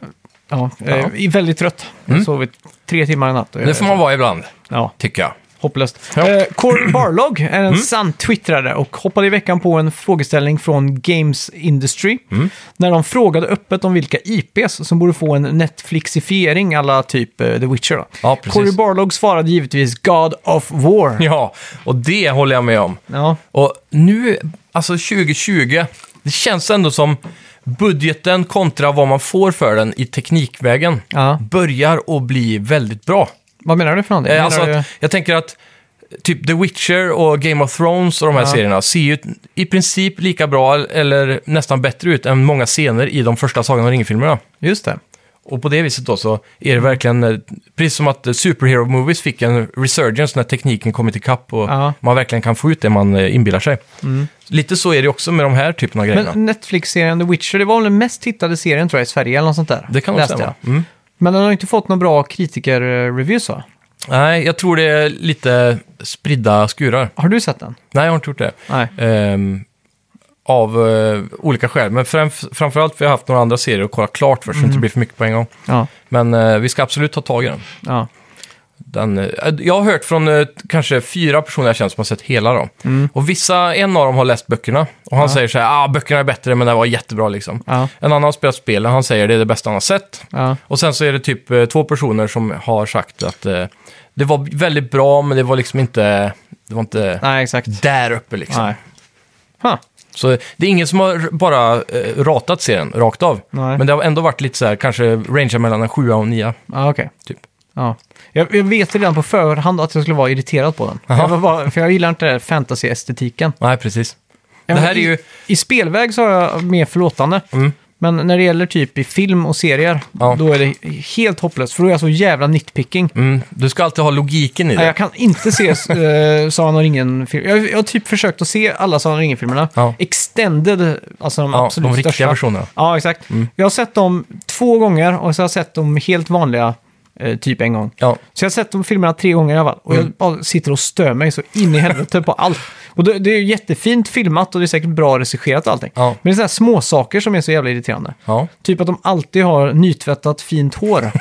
[SPEAKER 1] ja, jag
[SPEAKER 2] Ja. Mm.
[SPEAKER 1] är väldigt trött. Jag har sovit tre timmar i natt. och jag-
[SPEAKER 2] Det får man vara ibland,
[SPEAKER 1] Ja,
[SPEAKER 2] tycker jag.
[SPEAKER 1] hopplöst.
[SPEAKER 2] Ja. Mm.
[SPEAKER 1] Eh, Corin Barlog är en sann twittrare och hoppade i veckan på en frågeställning från Games Industry.
[SPEAKER 2] Mm.
[SPEAKER 1] När de frågade öppet om vilka IPs som borde få en Netflixifiering alla typ eh, The Witcher. Då.
[SPEAKER 2] Ja, precis.
[SPEAKER 1] Cory Barlog svarade givetvis God of War.
[SPEAKER 2] Ja, och det håller jag med om.
[SPEAKER 1] Ja,
[SPEAKER 2] Och nu, alltså 2020, det känns ändå som budgeten kontra vad man får för den i teknikvägen
[SPEAKER 1] Ja.
[SPEAKER 2] börjar att bli väldigt bra.
[SPEAKER 1] vad menar du för någonting?
[SPEAKER 2] Eh,
[SPEAKER 1] Menar
[SPEAKER 2] Alltså
[SPEAKER 1] du-
[SPEAKER 2] att, jag tänker att typ The Witcher och Game of Thrones och de här
[SPEAKER 1] Ja.
[SPEAKER 2] serierna ser ju i princip lika bra eller nästan bättre ut än många scener i de första Sagan om ringen-filmerna.
[SPEAKER 1] Just det.
[SPEAKER 2] Och på det viset då så är det verkligen, eh, precis som att eh, superhero movies fick en resurgence när tekniken kommit ikapp och
[SPEAKER 1] Ja. Mm.
[SPEAKER 2] man verkligen kan få ut det man eh, inbillar sig. Lite så är det också med de här typen av grejerna.
[SPEAKER 1] Men Netflix-serien The Witcher, det var väl den mest tittade serien tror jag i Sverige eller något sånt där.
[SPEAKER 2] det kan nog
[SPEAKER 1] Läste
[SPEAKER 2] stämma.
[SPEAKER 1] jag.
[SPEAKER 2] Mm.
[SPEAKER 1] Men den har ju inte fått några bra kritiker-reviews va?
[SPEAKER 2] Nej, jag tror det är lite spridda skurar.
[SPEAKER 1] Har du sett den?
[SPEAKER 2] Nej, jag har inte gjort det.
[SPEAKER 1] Nej.
[SPEAKER 2] Ehm, av eh, olika skäl, men framf- framförallt för jag har haft några andra serier att kolla klart för så
[SPEAKER 1] Mm.
[SPEAKER 2] det inte blir för mycket på en gång.
[SPEAKER 1] Ja.
[SPEAKER 2] Men eh, vi ska absolut ta tag i den.
[SPEAKER 1] ja.
[SPEAKER 2] Den, eh, jag har hört från eh, kanske fyra personer jag känner som har sett hela dem.
[SPEAKER 1] Mm.
[SPEAKER 2] Och vissa, en av dem har läst böckerna. Och han säger så här, ah, böckerna är bättre men det här var jättebra liksom.
[SPEAKER 1] Ja.
[SPEAKER 2] En annan har spelat spelen, han säger det är det bästa han har sett.
[SPEAKER 1] ja.
[SPEAKER 2] Och sen så är det typ eh, två personer som har sagt att eh, det var väldigt bra men det var liksom inte, det var inte
[SPEAKER 1] Nej, exakt.
[SPEAKER 2] där uppe liksom.
[SPEAKER 1] Nej. Huh.
[SPEAKER 2] Så det är ingen som har r- bara eh, ratat serien rakt av.
[SPEAKER 1] Nej.
[SPEAKER 2] Men det har ändå varit lite så här, kanske rangea mellan en sjua och en nia.
[SPEAKER 1] Ja, okej.
[SPEAKER 2] Typ.
[SPEAKER 1] Ja. Jag, jag vet redan på förhand att jag skulle vara irriterad på den.
[SPEAKER 2] Jaha.
[SPEAKER 1] Jag var bara, för jag gillar inte den här fantasy-estetiken.
[SPEAKER 2] Nej, precis.
[SPEAKER 1] Ja,
[SPEAKER 2] det
[SPEAKER 1] men
[SPEAKER 2] här är
[SPEAKER 1] i,
[SPEAKER 2] ju...
[SPEAKER 1] I spelväg så är jag mer förlåtande. Men när det gäller typ i film och serier,
[SPEAKER 2] Mm. Ja.
[SPEAKER 1] då är det helt hopplöst. För då är jag så jävla nitpicking.
[SPEAKER 2] Mm, du ska alltid ha logiken i det.
[SPEAKER 1] Nej, jag kan inte se uh, Sagan om ringen-filmer. Jag, jag har typ försökt att se alla Sagan om ringen-filmerna.
[SPEAKER 2] Ja.
[SPEAKER 1] Extended, alltså de
[SPEAKER 2] Ja,
[SPEAKER 1] absolut
[SPEAKER 2] de riktiga
[SPEAKER 1] största.
[SPEAKER 2] versionerna. Mm.
[SPEAKER 1] Ja, exakt. Jag har sett dem två gånger och så har jag sett dem helt vanliga eh, typ en gång.
[SPEAKER 2] Ja.
[SPEAKER 1] Så jag har sett de filmerna tre gånger i alla fall. Och
[SPEAKER 2] Mm.
[SPEAKER 1] jag bara sitter och stör mig så in i helvete på allt. Och det, det är ju jättefint filmat och det är säkert bra regisserat och allting.
[SPEAKER 2] Ja.
[SPEAKER 1] Men det är sådana här små saker som är så jävla irriterande.
[SPEAKER 2] Ja.
[SPEAKER 1] Typ att de alltid har nytvättat fint hår.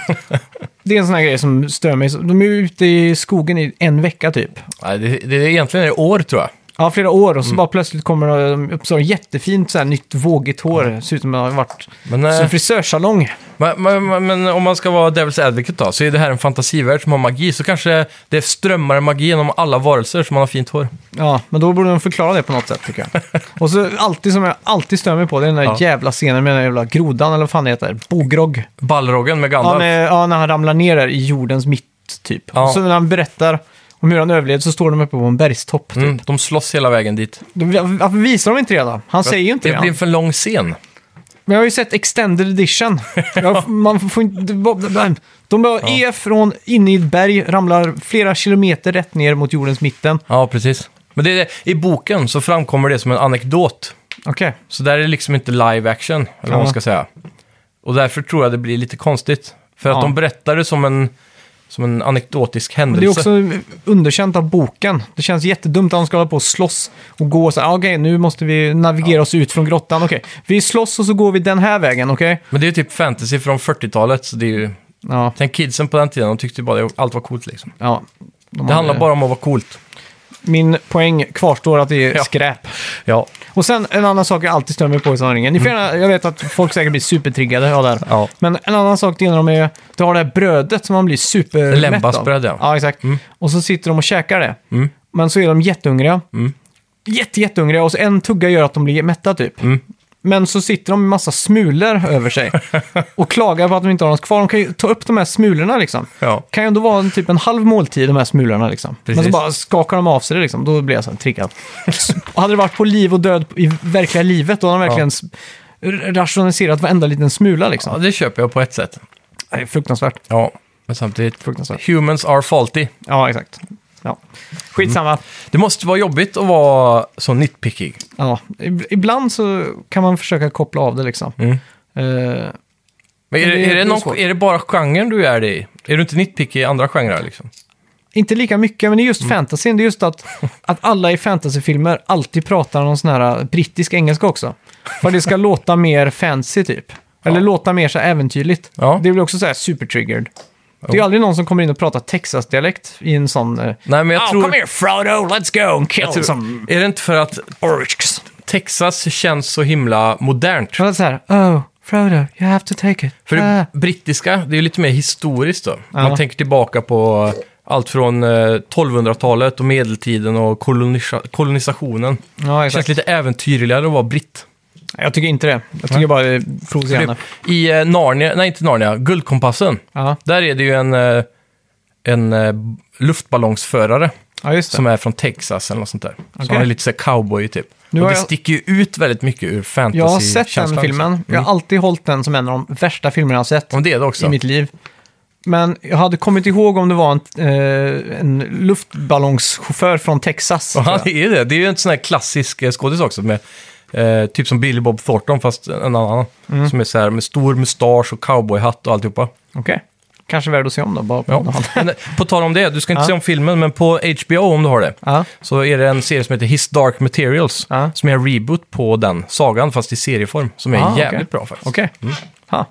[SPEAKER 1] det är en sån här grej som stör mig. De är ju ute i skogen i en vecka typ.
[SPEAKER 2] Nej, det, det är egentligen är det år tror jag.
[SPEAKER 1] Ja, flera år
[SPEAKER 2] Mm.
[SPEAKER 1] och så bara plötsligt kommer de upp så jättefint så här nytt vågigt hår. Ser ut som att det har varit
[SPEAKER 2] Men, eh,
[SPEAKER 1] så en frisörsalong.
[SPEAKER 2] Men, men, men, men om man ska vara Devil's Advocate då, så är det här en fantasivärld som har magi. Så kanske det strömmar magi genom alla varelser som man har fint hår.
[SPEAKER 1] Ja, men då borde de förklara det på något sätt tycker jag. Och så alltid som jag alltid stör mig på, det är den där
[SPEAKER 2] Ja.
[SPEAKER 1] jävla scenen med den där jävla grodan eller vad fan det heter. Bogrog.
[SPEAKER 2] Balrogen med
[SPEAKER 1] Ja,
[SPEAKER 2] Gandalf.
[SPEAKER 1] med, ja, när han ramlar ner där i jordens mitt typ.
[SPEAKER 2] Ja.
[SPEAKER 1] Och så när han berättar, och Om hur han överlevde så står de uppe på en bergstopp.
[SPEAKER 2] Mm, de slåss hela vägen dit.
[SPEAKER 1] De- Varför visar de inte det då? Han säger ju inte det.
[SPEAKER 2] det blir en för lång scen.
[SPEAKER 1] Men jag har ju sett Extended Edition. Jag, man får inte... det var- De bara är från inne i ett berg, ramlar flera kilometer rätt ner mot jordens mitten.
[SPEAKER 2] Ja, precis. Men det är, i boken så framkommer det som en anekdot.
[SPEAKER 1] Okej.
[SPEAKER 2] Så där är det liksom inte live action, eller vad man
[SPEAKER 1] Ja.
[SPEAKER 2] ska säga. Och därför tror jag det blir lite konstigt. För att
[SPEAKER 1] Ja.
[SPEAKER 2] de berättar det som en, som en anekdotisk händelse.
[SPEAKER 1] Det är också underkänt av boken. Det känns jättedumt att de ska hålla på och slåss och gå så här, "Ah, okej, nu måste vi navigera oss ut från grottan. Okej, vi slåss och så går vi den här vägen, okej?
[SPEAKER 2] Men det är ju typ fantasy från 40-talet, så det är ju...
[SPEAKER 1] Ja,
[SPEAKER 2] Tänk kidsen på den tiden, de tyckte ju bara att allt var coolt liksom.
[SPEAKER 1] ja. De
[SPEAKER 2] Det
[SPEAKER 1] hade-
[SPEAKER 2] handlar bara om att vara coolt.
[SPEAKER 1] Min poäng kvarstår att det är
[SPEAKER 2] Ja.
[SPEAKER 1] skräp.
[SPEAKER 2] Ja.
[SPEAKER 1] Och sen en annan sak jag alltid stör mig på i sådana här ringen. Ni får gärna, jag vet att folk säkert blir supertriggade av det här.
[SPEAKER 2] Mm. Ja.
[SPEAKER 1] Men en annan sak det är när de är, du har det här brödet som man blir supermätt
[SPEAKER 2] Lembasbröd, ja. Mm.
[SPEAKER 1] av. Ja, exakt. Och så sitter de och käkar det. Men så är de jättehungriga.
[SPEAKER 2] Mm.
[SPEAKER 1] Jätte, jättehungriga och så en tugga gör att de blir mätta typ.
[SPEAKER 2] Mm.
[SPEAKER 1] Men så sitter de med massa smulor över sig och klagar på att de inte har något kvar. De kan ju ta upp de här smulorna liksom.
[SPEAKER 2] Ja.
[SPEAKER 1] Kan ju ändå vara en, typ en halv måltid de här smulorna liksom. Men
[SPEAKER 2] Precis.
[SPEAKER 1] så bara skakar de av sig det liksom. Då blir jag så här triggad. Och hade det varit på liv och död i verkliga livet då hade de verkligen s- r- rationaliserat varenda liten smula
[SPEAKER 2] ja,
[SPEAKER 1] liksom.
[SPEAKER 2] det köper jag på ett sätt.
[SPEAKER 1] Det är fruktansvärt.
[SPEAKER 2] Ja, men samtidigt...
[SPEAKER 1] Fruktansvärt.
[SPEAKER 2] Humans are faulty.
[SPEAKER 1] Ja, exakt. Ja. Skitsamma.
[SPEAKER 2] Det måste vara jobbigt att vara så nitpicky.
[SPEAKER 1] Ja. ib- Ibland så kan man försöka koppla av det liksom. Eh,
[SPEAKER 2] Men är,
[SPEAKER 1] Men
[SPEAKER 2] det,
[SPEAKER 1] det-
[SPEAKER 2] är,
[SPEAKER 1] det
[SPEAKER 2] det
[SPEAKER 1] är
[SPEAKER 2] någon,
[SPEAKER 1] svårt.
[SPEAKER 2] är det bara genren du är det i? Är du inte nitpicky i andra genrer liksom?
[SPEAKER 1] inte lika mycket, men det är
[SPEAKER 2] Mm.
[SPEAKER 1] just fantasyn. Det är just att, att alla i fantasyfilmer alltid pratar någon sån här äh, brittisk engelska också. För att det ska låta mer fancy typ. Eller låta mer så här äventyrligt.
[SPEAKER 2] Ja.
[SPEAKER 1] Det blir också så här supertriggered. Det är ju aldrig någon som kommer in och pratar Texas-dialekt i en sån... eh,
[SPEAKER 2] Nej, men jag
[SPEAKER 1] oh,
[SPEAKER 2] tror...
[SPEAKER 1] come here Frodo, let's go and kill
[SPEAKER 2] jag tror
[SPEAKER 1] some
[SPEAKER 2] Är det inte för att
[SPEAKER 1] orcs.
[SPEAKER 2] Texas känns så himla modernt?
[SPEAKER 1] Och så här, oh, Frodo, you have to take it.
[SPEAKER 2] För
[SPEAKER 1] ah.
[SPEAKER 2] det brittiska, det är ju lite mer historiskt då. Man
[SPEAKER 1] Ja.
[SPEAKER 2] tänker tillbaka på allt från eh, 1200-talet och medeltiden och kolonisa- kolonisationen.
[SPEAKER 1] ja,
[SPEAKER 2] Det känns
[SPEAKER 1] exakt.
[SPEAKER 2] lite äventyrligare att vara britt.
[SPEAKER 1] Jag tycker inte det. Jag tycker bara det är provocerande.
[SPEAKER 2] Typ I eh, Narnia, nej inte Narnia, Guldkompassen.
[SPEAKER 1] Ja,
[SPEAKER 2] Där är det ju en, eh, en eh, luftballongsförare
[SPEAKER 1] ja just det.
[SPEAKER 2] som är från Texas eller något sånt där. Så
[SPEAKER 1] Okej.
[SPEAKER 2] han är lite så här cowboy typ.
[SPEAKER 1] Nu
[SPEAKER 2] och
[SPEAKER 1] har
[SPEAKER 2] det
[SPEAKER 1] jag-
[SPEAKER 2] sticker ju ut väldigt mycket ur
[SPEAKER 1] Jag har
[SPEAKER 2] fantasy-känslan.
[SPEAKER 1] sett den
[SPEAKER 2] liksom.
[SPEAKER 1] filmen. Jag har alltid hållit den som en av de värsta filmerna jag har sett
[SPEAKER 2] Ja, men det är det också.
[SPEAKER 1] i mitt liv. Men jag hade kommit ihåg om det var en, eh, en luftballongschaufför från Texas. tror
[SPEAKER 2] Ja,
[SPEAKER 1] jag.
[SPEAKER 2] det är det. Det är ju en sån här klassisk eh, skådis också. Med, eh, typ som Billy Bob Thornton, fast en annan.
[SPEAKER 1] Mm.
[SPEAKER 2] Som är så här med stor mustasch och cowboyhatt och alltihopa.
[SPEAKER 1] Okej. Kanske värd att se om då, bara på
[SPEAKER 2] Ja.
[SPEAKER 1] ja.
[SPEAKER 2] Men, eh, på tal om det, du ska inte
[SPEAKER 1] Ja.
[SPEAKER 2] se om filmen, men på HBO om du har det.
[SPEAKER 1] ja.
[SPEAKER 2] Så är det en serie som heter His Dark Materials.
[SPEAKER 1] Ja.
[SPEAKER 2] Som är en reboot på den sagan, fast i serieform. Som är
[SPEAKER 1] Ah, okej.
[SPEAKER 2] jävligt bra faktiskt.
[SPEAKER 1] Okej. Ha.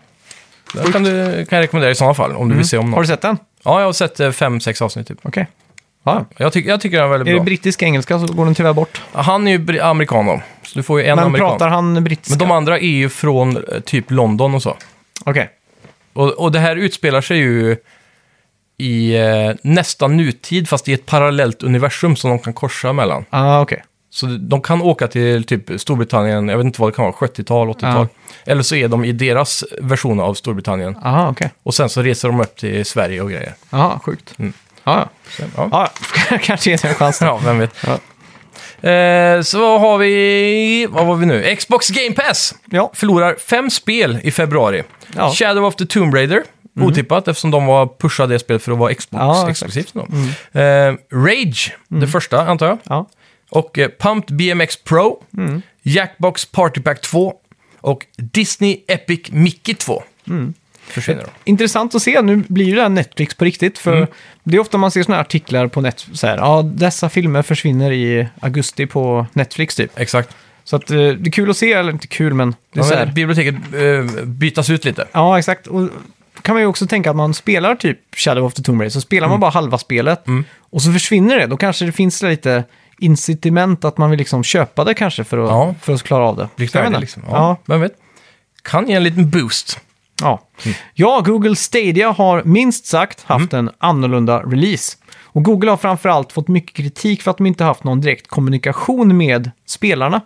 [SPEAKER 2] Den kan, du, kan jag rekommendera i sådana fall, om du vill se om någon.
[SPEAKER 1] Mm. Har du sett den?
[SPEAKER 2] Ja, jag har sett eh, fem, sex avsnitt typ.
[SPEAKER 1] Okej. Ja.
[SPEAKER 2] Jag, tycker jag tycker den är väldigt
[SPEAKER 1] Är det
[SPEAKER 2] bra.
[SPEAKER 1] brittisk engelska så går den tyvärr bort.
[SPEAKER 2] han är ju bri- amerikan då, så du får ju en
[SPEAKER 1] Men
[SPEAKER 2] amerikan.
[SPEAKER 1] pratar han brittiska?
[SPEAKER 2] Men de andra är ju från eh, typ London och så.
[SPEAKER 1] Okej.
[SPEAKER 2] Och, och det här utspelar sig ju i eh, nästan nutid, fast i ett parallellt universum som de kan korsa mellan.
[SPEAKER 1] Ah, okej.
[SPEAKER 2] Så de kan åka till typ Storbritannien, jag vet inte vad det kan vara, 70-tal, 80-tal. Eller så är de i deras version av Storbritannien.
[SPEAKER 1] Aha, okej.
[SPEAKER 2] Och sen så reser de upp till Sverige och grejer.
[SPEAKER 1] Jaha, sjukt. Ja, ja.
[SPEAKER 2] Så, Mm. ja.
[SPEAKER 1] Ja, ja. kanske ges en chans. då.
[SPEAKER 2] ja, vem vet.
[SPEAKER 1] Ja.
[SPEAKER 2] Eh, så vad har vi, vad var vi nu? Xbox Game Pass!
[SPEAKER 1] Ja.
[SPEAKER 2] Förlorar fem spel i februari.
[SPEAKER 1] Ja. Mhm.
[SPEAKER 2] Shadow of the Tomb Raider, otippat eftersom de var pushade det spelet för att vara Xbox
[SPEAKER 1] Ja, exakt. Mm.
[SPEAKER 2] exklusivt. då. Eh, Rage, det första antar jag.
[SPEAKER 1] ja.
[SPEAKER 2] Och eh, Pumped BMX Pro,
[SPEAKER 1] Mm.
[SPEAKER 2] Jackbox Party Pack 2 och Disney Epic Mickey 2.
[SPEAKER 1] Mm.
[SPEAKER 2] Försvinner de.
[SPEAKER 1] intressant att se. Nu blir ju det här Netflix på riktigt. För
[SPEAKER 2] Mm.
[SPEAKER 1] det är ofta man ser såna här artiklar på net. Så här, ja, dessa filmer försvinner i augusti på Netflix typ.
[SPEAKER 2] Exakt.
[SPEAKER 1] Så att, eh, det är kul att se, eller inte kul men det är
[SPEAKER 2] Ja,
[SPEAKER 1] så
[SPEAKER 2] men
[SPEAKER 1] här.
[SPEAKER 2] biblioteket eh, bytas ut lite.
[SPEAKER 1] Ja, exakt. Och kan man ju också tänka att man spelar typ Shadow of the Tomb Raider, så spelar
[SPEAKER 2] Mm.
[SPEAKER 1] man bara halva spelet och så försvinner det. Då kanske det finns lite incitament att man vill liksom köpa det kanske för att,
[SPEAKER 2] Ja.
[SPEAKER 1] för att klara av det.
[SPEAKER 2] Blir
[SPEAKER 1] Jag vet
[SPEAKER 2] färdig
[SPEAKER 1] inte.
[SPEAKER 2] liksom. Ja,
[SPEAKER 1] Ja.
[SPEAKER 2] Vem vet? Kan ge en liten boost.
[SPEAKER 1] Ja. ja, Google Stadia har minst sagt haft
[SPEAKER 2] Mm.
[SPEAKER 1] en annorlunda release. Och Google har framförallt fått mycket kritik för att de inte haft någon direkt kommunikation med spelarna.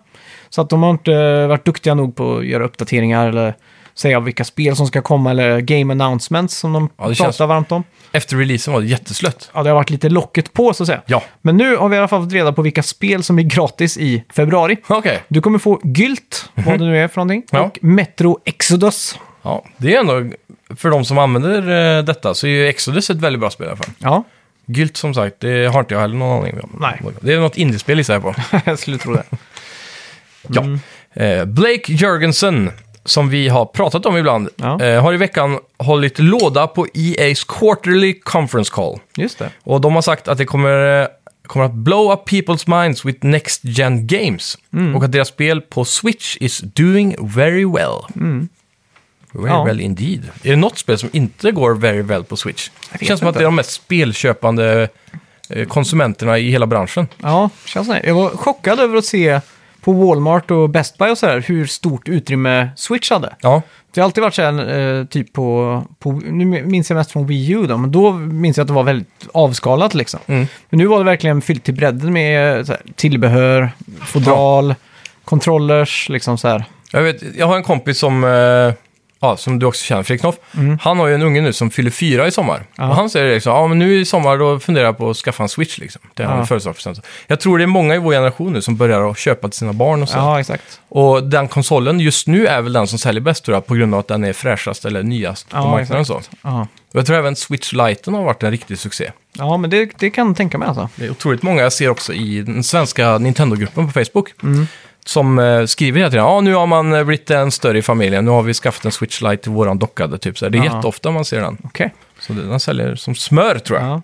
[SPEAKER 1] Så att de har inte eh, varit duktiga nog på att göra uppdateringar eller säga vilka spel som ska komma eller game announcements som de
[SPEAKER 2] Ja, det
[SPEAKER 1] pratar
[SPEAKER 2] känns-
[SPEAKER 1] varmt om.
[SPEAKER 2] Efter releasen var det jätteslött.
[SPEAKER 1] Ja, det har varit lite locket på så att säga.
[SPEAKER 2] Ja.
[SPEAKER 1] Men nu har vi i alla fall fått reda på vilka spel som är gratis i februari.
[SPEAKER 2] Okej.
[SPEAKER 1] Du kommer få Gylt, vad det nu är för någonting,
[SPEAKER 2] Mhm. Ja.
[SPEAKER 1] och Metro Exodus.
[SPEAKER 2] Ja, det är ändå... För de som använder eh, detta så är ju Exodus ett väldigt bra spel i alla fall.
[SPEAKER 1] Ja,
[SPEAKER 2] Gylt som sagt, det har inte jag heller någon aning om.
[SPEAKER 1] Nej.
[SPEAKER 2] Det är något indiespel gissar jag på.
[SPEAKER 1] jag skulle tro det.
[SPEAKER 2] Ja.
[SPEAKER 1] Mm.
[SPEAKER 2] Eh, Blake Jörgensen, som vi har pratat om ibland,
[SPEAKER 1] Ja.
[SPEAKER 2] eh, har i veckan hållit låda på EA's Quarterly Conference Call.
[SPEAKER 1] Just det.
[SPEAKER 2] Och de har sagt att det kommer, eh, kommer att blow up people's minds with next gen games.
[SPEAKER 1] Mm.
[SPEAKER 2] Och att deras spel på Switch is doing very well. Very
[SPEAKER 1] Mm. Ja.
[SPEAKER 2] well indeed. Är det något spel som inte går very well på Switch? Det
[SPEAKER 1] vet
[SPEAKER 2] känns som att
[SPEAKER 1] inte.
[SPEAKER 2] det är de mest spelköpande eh, konsumenterna i hela branschen.
[SPEAKER 1] Ja, känns det. Jag var chockad över att se på Walmart och Best Buy och sådär hur stort utrymme Switch hade.
[SPEAKER 2] Ja,
[SPEAKER 1] Det har alltid varit så här, eh, typ på, på, nu minns jag mest från Wii U då, men då minns jag att det var väldigt avskalat liksom.
[SPEAKER 2] Mm.
[SPEAKER 1] Men nu var det verkligen fyllt till bredden med eh, så här, tillbehör, fodral, controllers, liksom så här.
[SPEAKER 2] Jag, vet, jag har en kompis som, eh, ja, som du också känner, Fredrik Knoff. Han har ju en unge nu som fyller fyra i sommar.
[SPEAKER 1] Mm. Ja.
[SPEAKER 2] Och han säger liksom, ja men nu i sommar då funderar jag på att skaffa en Switch liksom. Det är
[SPEAKER 1] Ja.
[SPEAKER 2] ja. födelsedagspresent. Jag tror det är många i vår generation nu som börjar att köpa till sina barn och så.
[SPEAKER 1] Ja, exakt.
[SPEAKER 2] Och den konsolen just nu är väl den som säljer bäst tror jag, på grund av att den är fräschast eller nyast på
[SPEAKER 1] Ja,
[SPEAKER 2] marknaden och så.
[SPEAKER 1] Ja,
[SPEAKER 2] Och jag tror även Switch Lite har varit en riktig succé.
[SPEAKER 1] ja men det, det kan jag tänka mig alltså.
[SPEAKER 2] Det är otroligt många jag ser också i den svenska Nintendo-gruppen på Facebook. Som eh, skriver hela tiden, ja nu har man eh, blivit en större i familjen, nu har vi skaffat en Switch Lite till våran dockade typ. Så här. det är
[SPEAKER 1] Ja.
[SPEAKER 2] jätteofta man ser den.
[SPEAKER 1] Okej.
[SPEAKER 2] Så det- den säljer som smör tror jag. Ja,
[SPEAKER 1] Ja.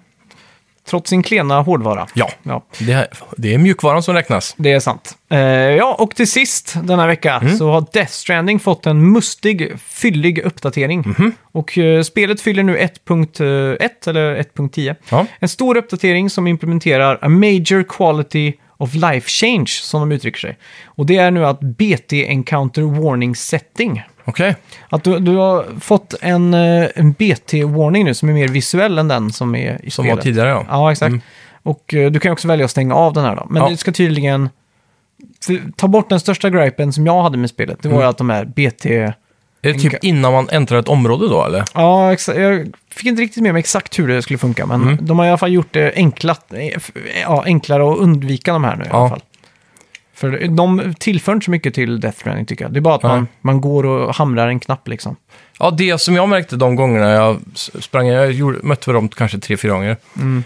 [SPEAKER 1] Trots sin klena hårdvara. Ja.
[SPEAKER 2] Det, här, det är mjukvaran som räknas.
[SPEAKER 1] Det är sant. Eh, ja, och till sist denna vecka
[SPEAKER 2] Mm.
[SPEAKER 1] så har Death Stranding fått en mustig, fyllig uppdatering.
[SPEAKER 2] Mm-hmm.
[SPEAKER 1] Och eh, spelet fyller nu 1.1 eller 1.10.
[SPEAKER 2] Ja.
[SPEAKER 1] En stor uppdatering som implementerar a major quality of life change, som de uttrycker sig. Och det är nu att BT Encounter Warning Setting.
[SPEAKER 2] Okej,
[SPEAKER 1] Att du, du har fått en, eh, en BT-warning nu som är mer visuell än den som är i
[SPEAKER 2] som var
[SPEAKER 1] spelet.
[SPEAKER 2] tidigare ja.
[SPEAKER 1] Ja, exakt. Och eh, du kan ju också välja att stänga av den här då. Men
[SPEAKER 2] Ja.
[SPEAKER 1] du ska tydligen f- ta bort den största gripen som jag hade med spelet. Det var ju att de här BT...
[SPEAKER 2] Är det typ
[SPEAKER 1] Enka-
[SPEAKER 2] innan man äntrar ett område då eller?
[SPEAKER 1] Ja, exa- jag fick inte riktigt med mig exakt hur det skulle funka, men de har i alla fall gjort det enkla, eh, f- ja, enklare att undvika de här nu i
[SPEAKER 2] Ja.
[SPEAKER 1] alla fall. För de tillför inte så mycket till Death Stranding tycker jag. Det är bara att man,
[SPEAKER 2] Nej.
[SPEAKER 1] man går och hamrar en knapp liksom.
[SPEAKER 2] Ja, det som jag märkte de gångerna jag s- sprang, jag gjorde, mötte väl dem kanske tre, fyra gånger.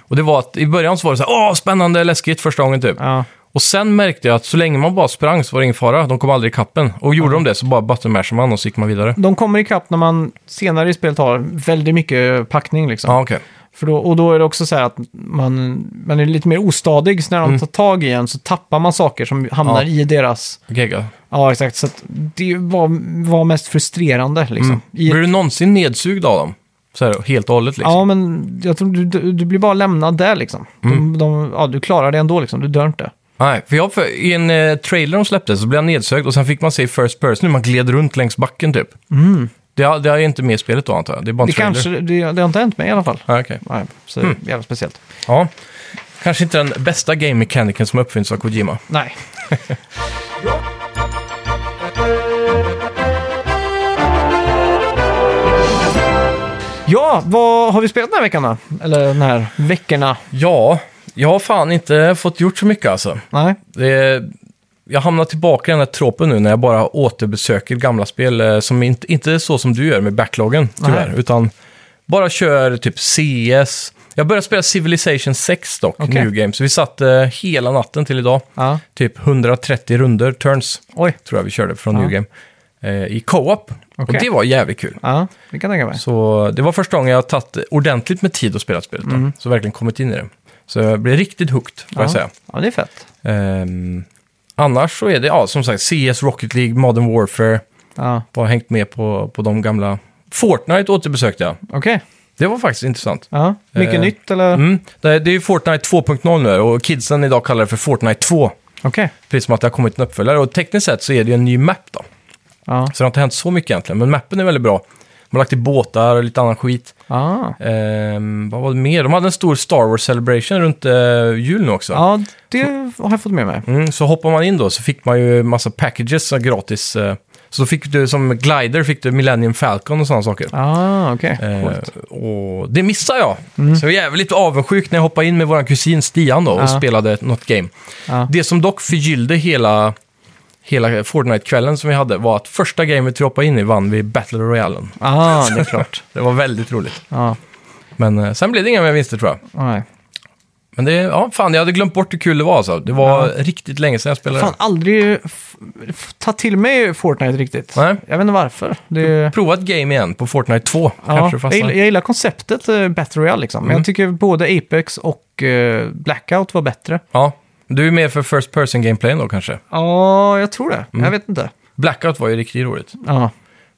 [SPEAKER 2] Och det var att i början så var det så här, åh, spännande, läskigt första gången typ.
[SPEAKER 1] Ja,
[SPEAKER 2] Och sen märkte jag att så länge man bara sprang så var det ingen fara. De kom aldrig i kappen. Och gjorde de det så bara buttonmashade man och så gick man vidare.
[SPEAKER 1] de kommer ikapp när man senare i spelet har väldigt mycket packning liksom.
[SPEAKER 2] Ja, ah, okej.
[SPEAKER 1] För då, och då är det också så här att man, man är lite mer ostadig, så när de tar tag i en så tappar man saker som hamnar
[SPEAKER 2] Mm. Ja.
[SPEAKER 1] i deras...
[SPEAKER 2] Gegga.
[SPEAKER 1] Ja, exakt. Så att det var, var mest frustrerande liksom.
[SPEAKER 2] Mm.
[SPEAKER 1] I,
[SPEAKER 2] Blir du någonsin nedsugd av dem? Så här, helt och hållet liksom?
[SPEAKER 1] ja, men jag tror du, du, du blir bara lämnad där liksom.
[SPEAKER 2] Mm.
[SPEAKER 1] De, de, ja, du klarar det ändå liksom, du dör inte.
[SPEAKER 2] Nej, för jag, för, i en eh, trailer de släppte så blev jag nedsögd och sen fick man se i first person hur man gled runt längs backen typ. Det, har- det är inte med i spelet då antar jag? Det är bara en
[SPEAKER 1] Mm. Det
[SPEAKER 2] trailer?
[SPEAKER 1] kanske, det, det har inte hänt mig i alla fall.
[SPEAKER 2] Ah, okej.
[SPEAKER 1] Nej, så jävla speciellt.
[SPEAKER 2] Ja. Kanske inte den bästa game-mekaniken som uppfinns av Kojima.
[SPEAKER 1] Nej. Ja, vad har vi spelat den här veckan då? Eller den här veckorna?
[SPEAKER 2] Ja, jag har fan inte fått gjort så mycket alltså.
[SPEAKER 1] Nej.
[SPEAKER 2] Det, jag hamnar tillbaka i den här tropen nu när jag bara återbesöker gamla spel eh, som inte, inte är så som du gör med backloggen, tyvärr.
[SPEAKER 1] Nej.
[SPEAKER 2] Utan bara kör typ CS. Jag började spela Civilization 6 dock,
[SPEAKER 1] Okej.
[SPEAKER 2] New Game. Så vi satt eh, hela natten till idag.
[SPEAKER 1] Ja.
[SPEAKER 2] Typ 130 runder, turns,
[SPEAKER 1] Oj.
[SPEAKER 2] tror jag vi körde från
[SPEAKER 1] Ja.
[SPEAKER 2] New Game. Eh, I co-op. Och
[SPEAKER 1] Okej.
[SPEAKER 2] det var jävligt kul.
[SPEAKER 1] Ja, det kan jag tänka mig.
[SPEAKER 2] Så det var första gången jag tagit ordentligt med tid att spela spelet. då. Så verkligen kommit in i det. Så jag blev riktigt hooked, får jag
[SPEAKER 1] Mm. ja.
[SPEAKER 2] säga.
[SPEAKER 1] Ja, det är fett.
[SPEAKER 2] Ehm, annars så är det, ja, som sagt, CS, Rocket League, Modern Warfare.
[SPEAKER 1] Ja,
[SPEAKER 2] Bara hängt med på, på de gamla. Fortnite återbesökte jag.
[SPEAKER 1] okej.
[SPEAKER 2] Det var faktiskt intressant.
[SPEAKER 1] Ja. Mycket
[SPEAKER 2] Eh,
[SPEAKER 1] nytt eller?
[SPEAKER 2] Mm. Det, det är ju Fortnite 2.0 nu och kidsen idag kallar det för Fortnite 2.
[SPEAKER 1] Okej.
[SPEAKER 2] Precis som att det har kommit en uppföljare. Och tekniskt sett så är det ju en ny map då.
[SPEAKER 1] Ja.
[SPEAKER 2] Så det har inte hänt så mycket egentligen. Men mappen är väldigt bra. De har lagt till båtar och lite annan skit.
[SPEAKER 1] Ah.
[SPEAKER 2] Ehm, vad var det mer? De hade en stor Star Wars Celebration runt eh, jul nu också.
[SPEAKER 1] Ja, det har jag fått med mig.
[SPEAKER 2] Mm, så hoppar man in då så fick man ju massa packages så gratis. eh, Så då fick du som glider fick du Millennium Falcon och sådana saker.
[SPEAKER 1] Ah, okej. Coolt. Mm.
[SPEAKER 2] Eh, och det missade jag. Så jag är jävligt avundsjuk när jag hoppade in med vår kusin Stian då och
[SPEAKER 1] Ja.
[SPEAKER 2] spelade ett- något game.
[SPEAKER 1] Ja.
[SPEAKER 2] Det som dock förgyllde hela, hela Fortnite-kvällen som vi hade var att första gamet vi hoppade in i vann vi Battle Royalen.
[SPEAKER 1] Ah, det är klart.
[SPEAKER 2] Det var väldigt roligt.
[SPEAKER 1] Ja,
[SPEAKER 2] Men eh, sen blev det inga mer vinster tror jag.
[SPEAKER 1] nej.
[SPEAKER 2] Men det, ja fan jag hade glömt bort hur kul det var alltså. Det var riktigt länge sedan jag spelade.
[SPEAKER 1] Fan, aldrig f- f- tagit till mig Fortnite riktigt.
[SPEAKER 2] Nej.
[SPEAKER 1] Jag vet inte varför. Det...
[SPEAKER 2] Prova ett game igen på Fortnite 2.
[SPEAKER 1] Ja,
[SPEAKER 2] Kanske
[SPEAKER 1] jag,
[SPEAKER 2] fastnar.
[SPEAKER 1] gillar, jag gillar konceptet eh, Battle Royale liksom. Men
[SPEAKER 2] Mm.
[SPEAKER 1] jag tycker både Apex och eh, Blackout var bättre.
[SPEAKER 2] Ja. Du är mer för first person gameplayen då kanske.
[SPEAKER 1] Ja, jag tror
[SPEAKER 2] Mm.
[SPEAKER 1] det. Jag vet inte.
[SPEAKER 2] Blackout var ju riktigt roligt.
[SPEAKER 1] Ja.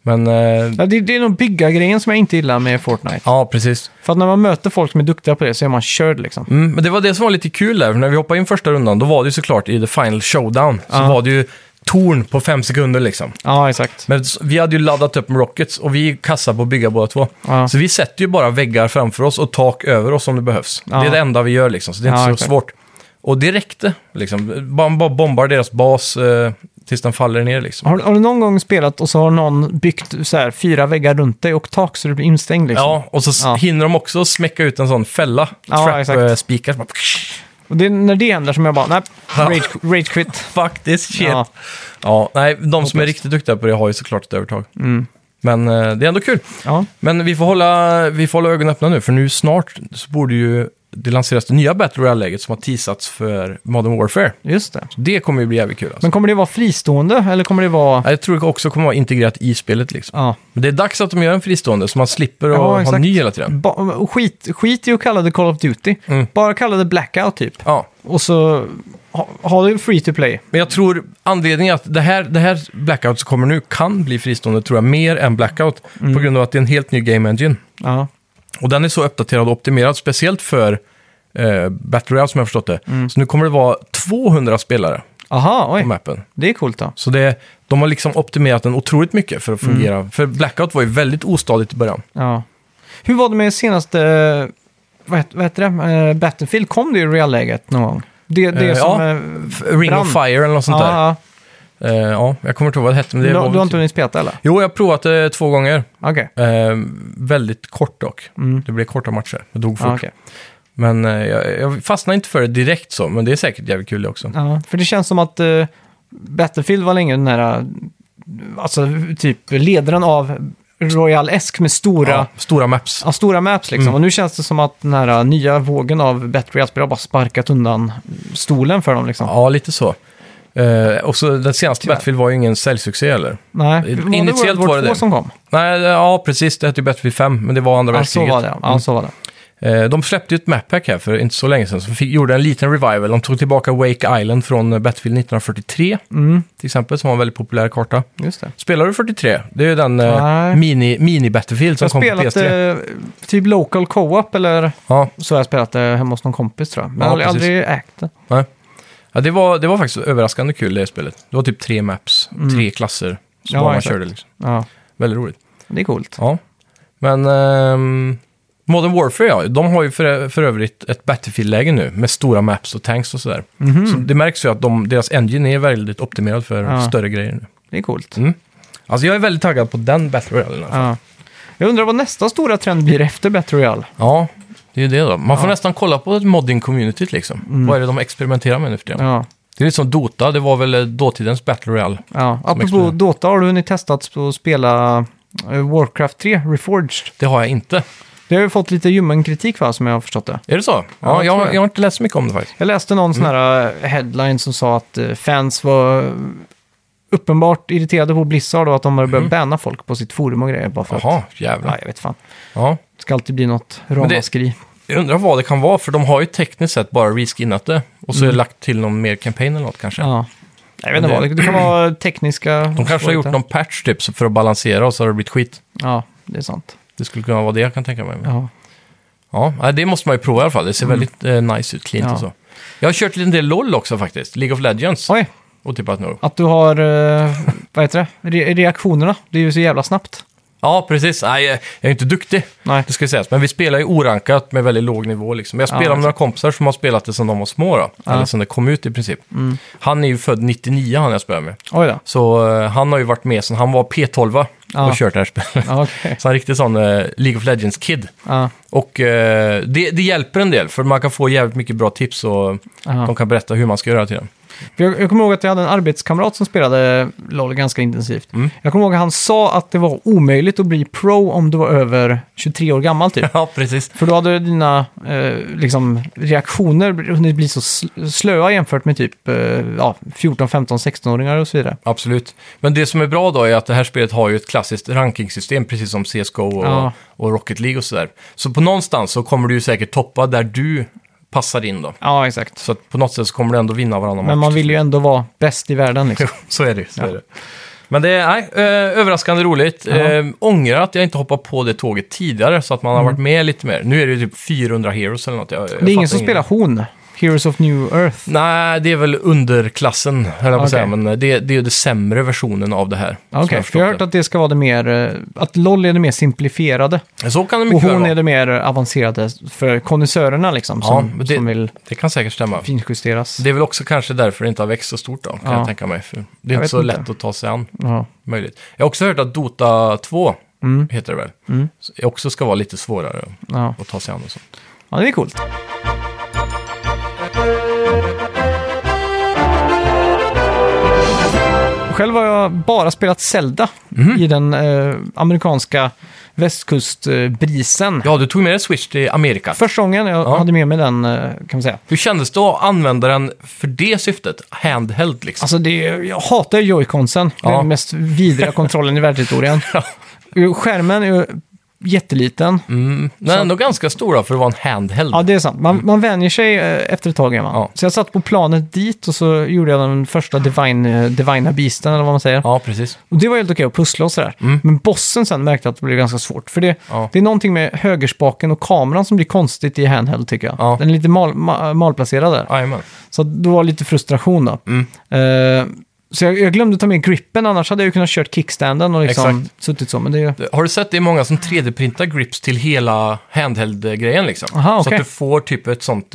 [SPEAKER 2] Men eh,
[SPEAKER 1] Ja, det, det är nog bygga-grejen som jag inte gillar med Fortnite.
[SPEAKER 2] ja, precis.
[SPEAKER 1] För att när man möter folk som är duktiga på det så är man körd liksom.
[SPEAKER 2] Mm, men det var det som var lite kul där, för när vi hoppade in första rundan, då var det ju såklart i the final showdown, så
[SPEAKER 1] Ja.
[SPEAKER 2] var det ju torn på fem sekunder liksom.
[SPEAKER 1] Ja, exakt.
[SPEAKER 2] Men s- vi hade ju laddat upp med rockets och vi kassar på att bygga båda två.
[SPEAKER 1] Ja.
[SPEAKER 2] Så vi sätter ju bara väggar framför oss och tak över oss om det behövs. Det är
[SPEAKER 1] Ja.
[SPEAKER 2] det enda vi gör liksom, så det är
[SPEAKER 1] Ja,
[SPEAKER 2] inte så
[SPEAKER 1] exakt.
[SPEAKER 2] svårt. Och det räckte liksom. Man bara bombar deras bas eh, tills den faller ner liksom.
[SPEAKER 1] Har, du- har du någon gång spelat och så har någon byggt så här, fyra väggar runt dig och tak så du blir instängd liksom?
[SPEAKER 2] Ja, och så s-
[SPEAKER 1] Ja.
[SPEAKER 2] hinner de också smäcka ut en sån fälla. eh,
[SPEAKER 1] Ja, exakt.
[SPEAKER 2] Trap-spikar.
[SPEAKER 1] Och det, är när det händer som jag bara, nej, rage, rage quit.
[SPEAKER 2] Faktiskt shit. Ja.
[SPEAKER 1] Ja.
[SPEAKER 2] nej, de som är riktigt duktiga på det har ju såklart ett övertag.
[SPEAKER 1] Mm.
[SPEAKER 2] Men eh, det är ändå kul.
[SPEAKER 1] Ja,
[SPEAKER 2] Men vi får, hålla, vi får hålla ögonen öppna nu, för nu snart så borde ju det lanseras det nya Battle Royale-läget som har teasats för Modern Warfare.
[SPEAKER 1] just det.
[SPEAKER 2] Det kommer ju bli jävligt kul. Alltså.
[SPEAKER 1] Men kommer det vara fristående eller kommer det vara...
[SPEAKER 2] Nej, jag tror det också kommer vara integrerat i spelet. Liksom.
[SPEAKER 1] Ja.
[SPEAKER 2] Men det är dags att de gör en fristående, så man slipper att
[SPEAKER 1] Ja,
[SPEAKER 2] ha en
[SPEAKER 1] exakt.
[SPEAKER 2] ny hela tiden.
[SPEAKER 1] Ba- och skit, skit i att kalla det Call of Duty.
[SPEAKER 2] Mm.
[SPEAKER 1] Bara kalla det Blackout typ.
[SPEAKER 2] Ja,
[SPEAKER 1] Och så ha, ha det free to play.
[SPEAKER 2] men jag tror anledningen att det här, det här Blackout som kommer nu kan bli fristående, tror jag, mer än Blackout.
[SPEAKER 1] Mm.
[SPEAKER 2] På grund av att det är en helt ny Game Engine.
[SPEAKER 1] Ja,
[SPEAKER 2] Och den är så uppdaterad och optimerad, speciellt för eh, Battle Royale som jag har förstått det. Så nu kommer det vara 200 spelare
[SPEAKER 1] Aha,
[SPEAKER 2] på
[SPEAKER 1] Mm. oj.
[SPEAKER 2] mappen.
[SPEAKER 1] Det är coolt då.
[SPEAKER 2] Så det, de har liksom optimerat den otroligt mycket för att
[SPEAKER 1] Mm.
[SPEAKER 2] fungera. För Blackout var ju väldigt ostadigt i början.
[SPEAKER 1] Ja. Hur var det med senaste... eh, Vad heter, vad heter det? Eh, Battlefield, kom det i realläget någon gång? Det, det
[SPEAKER 2] Eh,
[SPEAKER 1] som...
[SPEAKER 2] ja.
[SPEAKER 1] eh,
[SPEAKER 2] F- Ring of
[SPEAKER 1] Brand.
[SPEAKER 2] Fire eller något sånt
[SPEAKER 1] ja,
[SPEAKER 2] där.
[SPEAKER 1] ja.
[SPEAKER 2] Eh, ja, jag kommer inte ihåg vad det hette. Men det
[SPEAKER 1] Du,
[SPEAKER 2] var
[SPEAKER 1] du
[SPEAKER 2] väl
[SPEAKER 1] har inte
[SPEAKER 2] typ...
[SPEAKER 1] hunnit spela eller?
[SPEAKER 2] Jo, jag har provat det två gånger.
[SPEAKER 1] Okej.
[SPEAKER 2] Eh, väldigt kort dock.
[SPEAKER 1] Mm.
[SPEAKER 2] Det blev korta matcher. Jag dog fort.
[SPEAKER 1] Ja, okej.
[SPEAKER 2] Men eh, jag, jag fastnade inte för det direkt så, men det är säkert jävligt kul det också.
[SPEAKER 1] ja, för det känns som att eh, Battlefield var länge den här... eh, Alltså typ ledaren av Royal Esk med stora...
[SPEAKER 2] Ja, stora maps.
[SPEAKER 1] Ja, stora maps liksom.
[SPEAKER 2] Mm.
[SPEAKER 1] Och nu känns det som att den här eh, nya vågen av bättre spel har bara sparkat undan stolen för dem liksom.
[SPEAKER 2] Ja, lite så. Eh, och så den senaste
[SPEAKER 1] Tyvärr.
[SPEAKER 2] Battlefield var ju ingen säljsuccé eller?
[SPEAKER 1] Nej,
[SPEAKER 2] Initiellt
[SPEAKER 1] World War
[SPEAKER 2] var det
[SPEAKER 1] 2
[SPEAKER 2] det.
[SPEAKER 1] som kom?
[SPEAKER 2] Nej, eh, ja precis. Det hette ju Battlefield 5, men det var Mm. andra
[SPEAKER 1] Ja, så
[SPEAKER 2] världskriget.
[SPEAKER 1] var det. Ja, så var det.
[SPEAKER 2] Eh, de släppte ju ett mappack här för inte så länge sedan, som fick, gjorde en liten revival. De tog tillbaka Wake Island från eh, Battlefield 1943,
[SPEAKER 1] Mm,
[SPEAKER 2] till exempel, som var en väldigt populär karta.
[SPEAKER 1] just det.
[SPEAKER 2] Spelar du 43? Det är ju den eh,
[SPEAKER 1] Nej.
[SPEAKER 2] mini, mini-Battlefield som
[SPEAKER 1] Jag har
[SPEAKER 2] kom på
[SPEAKER 1] spelat
[SPEAKER 2] PS3.
[SPEAKER 1] eh, typ Local Co-op eller
[SPEAKER 2] Ja,
[SPEAKER 1] så har jag spelat det hemma hos någon kompis tror jag. Men
[SPEAKER 2] Ja,
[SPEAKER 1] jag har
[SPEAKER 2] precis.
[SPEAKER 1] aldrig ägt det.
[SPEAKER 2] ja det, var, det var faktiskt överraskande kul det spelet. Det var typ tre maps, tre klasser, som
[SPEAKER 1] Mm. Ja,
[SPEAKER 2] bara man
[SPEAKER 1] exakt.
[SPEAKER 2] körde liksom.
[SPEAKER 1] Ja,
[SPEAKER 2] Väldigt roligt.
[SPEAKER 1] det är coolt.
[SPEAKER 2] Ja, men ehm, Modern Warfare, ja, de har ju för, för övrigt ett Battlefield-läge nu med stora maps och tanks och sådär.
[SPEAKER 1] Mhm,
[SPEAKER 2] Så det märks ju att de, deras engine är väldigt optimerad för
[SPEAKER 1] Ja.
[SPEAKER 2] större grejer nu.
[SPEAKER 1] Det är coolt.
[SPEAKER 2] Mm. Alltså jag är väldigt taggad på den Battle alltså. Royale. Ja.
[SPEAKER 1] Ja. Jag undrar vad nästa stora trend blir efter Battle Royale.
[SPEAKER 2] ja, det är ju det då. Man får nästan kolla på modding-communityt liksom. Vad är det de experimenterar med nu för tiden?
[SPEAKER 1] Mm. Ja,
[SPEAKER 2] Det är lite som Dota, det var väl eh, dåtidens Battle Royale.
[SPEAKER 1] ja. Apropå
[SPEAKER 2] experiment.
[SPEAKER 1] Dota, har du hunnit testat att spela eh, Warcraft 3 Reforged?
[SPEAKER 2] Det har jag inte.
[SPEAKER 1] Det har ju fått lite ljummen kritik va, som jag har förstått det.
[SPEAKER 2] Är det så? Ja,
[SPEAKER 1] tror
[SPEAKER 2] jag, jag.
[SPEAKER 1] jag.
[SPEAKER 2] har inte läst så mycket om det faktiskt.
[SPEAKER 1] Jag läste någon
[SPEAKER 2] Mm.
[SPEAKER 1] sån här eh, headline som sa att eh, fans var uppenbart irriterade på Blizzard och att de hade börjat banna folk på sitt forum och grejer. Bara för att,
[SPEAKER 2] Mm. Jaha, jävlar.
[SPEAKER 1] ja, jag vet fan.
[SPEAKER 2] Ja.
[SPEAKER 1] Det ska alltid bli något ramaskri.
[SPEAKER 2] Jag undrar vad det kan vara, för de har ju tekniskt sett bara reskinnat det. Och så lagt till någon mer campaign eller något kanske.
[SPEAKER 1] Ja. Jag vet inte vad, det, det kan vara tekniska...
[SPEAKER 2] De kanske har gjort någon patch typ så för att balansera och så har det blivit skit.
[SPEAKER 1] Ja, det är sant.
[SPEAKER 2] Det skulle kunna vara det jag kan tänka mig. Ja,
[SPEAKER 1] Ja.
[SPEAKER 2] nej, det måste man ju prova i alla fall. Det ser väldigt eh, nice ut, cleant
[SPEAKER 1] Ja.
[SPEAKER 2] och så. Jag har kört en del LOL också faktiskt, League of Legends.
[SPEAKER 1] Oj,
[SPEAKER 2] Och typ att nog.
[SPEAKER 1] att du har, eh, vad heter det, Re reaktionerna. Det är ju så jävla snabbt.
[SPEAKER 2] Ja, precis. Nej, eh, jag är ju inte duktig,
[SPEAKER 1] Nej.
[SPEAKER 2] det ska sägas. Men vi spelar ju orankat med väldigt låg nivå. Liksom. Jag spelar med några kompisar som har spelat det sedan de var små, då. eller sedan det kom ut i princip.
[SPEAKER 1] Mm.
[SPEAKER 2] Han är ju född 99, han jag spelar med.
[SPEAKER 1] Oj då.
[SPEAKER 2] Så eh, han har ju varit med sedan han var P12
[SPEAKER 1] Ja.
[SPEAKER 2] och kört det här spelet.
[SPEAKER 1] Ja, okej.
[SPEAKER 2] Så han är riktigt sån eh, League of Legends-kid.
[SPEAKER 1] Ja.
[SPEAKER 2] Och eh, det, det hjälper en del, för man kan få jävligt mycket bra tips och
[SPEAKER 1] Aha.
[SPEAKER 2] de kan berätta hur man ska göra till den.
[SPEAKER 1] För Jag, jag kommer ihåg att jag hade en arbetskamrat som spelade LOL ganska intensivt.
[SPEAKER 2] Mm.
[SPEAKER 1] Jag kommer ihåg att han sa att det var omöjligt att bli pro om du var över 23 år gammal typ.
[SPEAKER 2] Ja, precis.
[SPEAKER 1] För då hade dina eh, liksom, reaktioner hunnit bli så sl- slöa jämfört med typ eh, ja, 14, 15, 16-åringar och så vidare.
[SPEAKER 2] Absolut. Men det som är bra då är att det här spelet har ju ett klassiskt rankingsystem, precis som CSGO och,
[SPEAKER 1] Ja.
[SPEAKER 2] och Rocket League och sådär. Så på någonstans så kommer du ju säkert toppa där du passar in då.
[SPEAKER 1] Ja, exakt.
[SPEAKER 2] Så att på något sätt så kommer du ändå vinna varannan
[SPEAKER 1] Men
[SPEAKER 2] match.
[SPEAKER 1] man vill ju ändå vara bäst i världen liksom.
[SPEAKER 2] så är det. Så är det. Men det är nej, eh, överraskande roligt. Eh, ångrar att jag inte hoppade på det tåget tidigare så att man har varit med lite mer. Nu är det ju typ 400 heroes eller något. Jag, jag
[SPEAKER 1] Mm. Det är
[SPEAKER 2] fattar
[SPEAKER 1] ingen som spelar Horn, Heroes of New Earth.
[SPEAKER 2] Nej, det är väl underklassen, höll jag på
[SPEAKER 1] Okej.
[SPEAKER 2] att säga. Men eh, det, det är ju den sämre versionen av det här. som
[SPEAKER 1] Okej,
[SPEAKER 2] har
[SPEAKER 1] för jag har
[SPEAKER 2] förstått
[SPEAKER 1] hört att det ska vara det mer, eh, att LOL är det mer simplifierade.
[SPEAKER 2] det. Så kan det
[SPEAKER 1] Och
[SPEAKER 2] Mm, mycket väl
[SPEAKER 1] hon
[SPEAKER 2] vara.
[SPEAKER 1] är det mer avancerade för konnässörerna liksom,
[SPEAKER 2] Ja,
[SPEAKER 1] som,
[SPEAKER 2] men det-
[SPEAKER 1] som vill
[SPEAKER 2] Det kan säkert stämma.
[SPEAKER 1] finjusteras.
[SPEAKER 2] Det är väl också kanske därför det inte har växt så stort då, kan
[SPEAKER 1] Ja.
[SPEAKER 2] jag tänka mig. För det är
[SPEAKER 1] Jag
[SPEAKER 2] inte
[SPEAKER 1] vet
[SPEAKER 2] så
[SPEAKER 1] inte.
[SPEAKER 2] lätt att ta sig an,
[SPEAKER 1] Ja.
[SPEAKER 2] möjligt. Jag har också hört att Dota 2,
[SPEAKER 1] Mm.
[SPEAKER 2] heter det väl,
[SPEAKER 1] Mm.
[SPEAKER 2] så- också ska vara lite svårare
[SPEAKER 1] Ja.
[SPEAKER 2] att ta sig an och så.
[SPEAKER 1] ja, det är coolt. Själv har jag bara spelat Zelda
[SPEAKER 2] Mhm.
[SPEAKER 1] i den eh, amerikanska västkustbrisen.
[SPEAKER 2] Ja, du tog med dig Switch till Amerika.
[SPEAKER 1] Första gången jag
[SPEAKER 2] Ja.
[SPEAKER 1] hade med mig den, eh, kan man säga.
[SPEAKER 2] Hur kändes det att använda den för det syftet? Handheld liksom.
[SPEAKER 1] Alltså, det, är- jag hatar joyconsen. Det är
[SPEAKER 2] Ja.
[SPEAKER 1] den mest vidriga kontrollen i världshistorien. Skärmen är ju jätteliten.
[SPEAKER 2] Mm. Den är ändå ganska stor då, för att vara en handheld.
[SPEAKER 1] Ja, det är sant. Man, man vänjer sig eh, efter ett tag. är Man.
[SPEAKER 2] Mm. Ja.
[SPEAKER 1] Så jag satt på planet dit och så gjorde jag den första divine, eh, divina beasten, eller vad man säger.
[SPEAKER 2] Ja, precis.
[SPEAKER 1] Och det var helt okej att pussla och sådär. Men bossen sen märkte jag att det blev ganska svårt. För det,
[SPEAKER 2] Ja.
[SPEAKER 1] det är någonting med högerspaken och kameran som blir konstigt i handheld, tycker jag.
[SPEAKER 2] Ja.
[SPEAKER 1] Den är lite mal, ma, malplacerad där.
[SPEAKER 2] Jajamän.
[SPEAKER 1] Så det var lite frustration då.
[SPEAKER 2] Mm.
[SPEAKER 1] Eh, så jag, jag glömde ta med grippen, annars hade jag ju kunnat kört kickstanden och liksom suttit så. Men det är ju...
[SPEAKER 2] eh, Har du sett det är många som 3D-printar grips till hela handheld-grejen liksom?
[SPEAKER 1] Aha,
[SPEAKER 2] Så
[SPEAKER 1] okej.
[SPEAKER 2] att du får typ ett sånt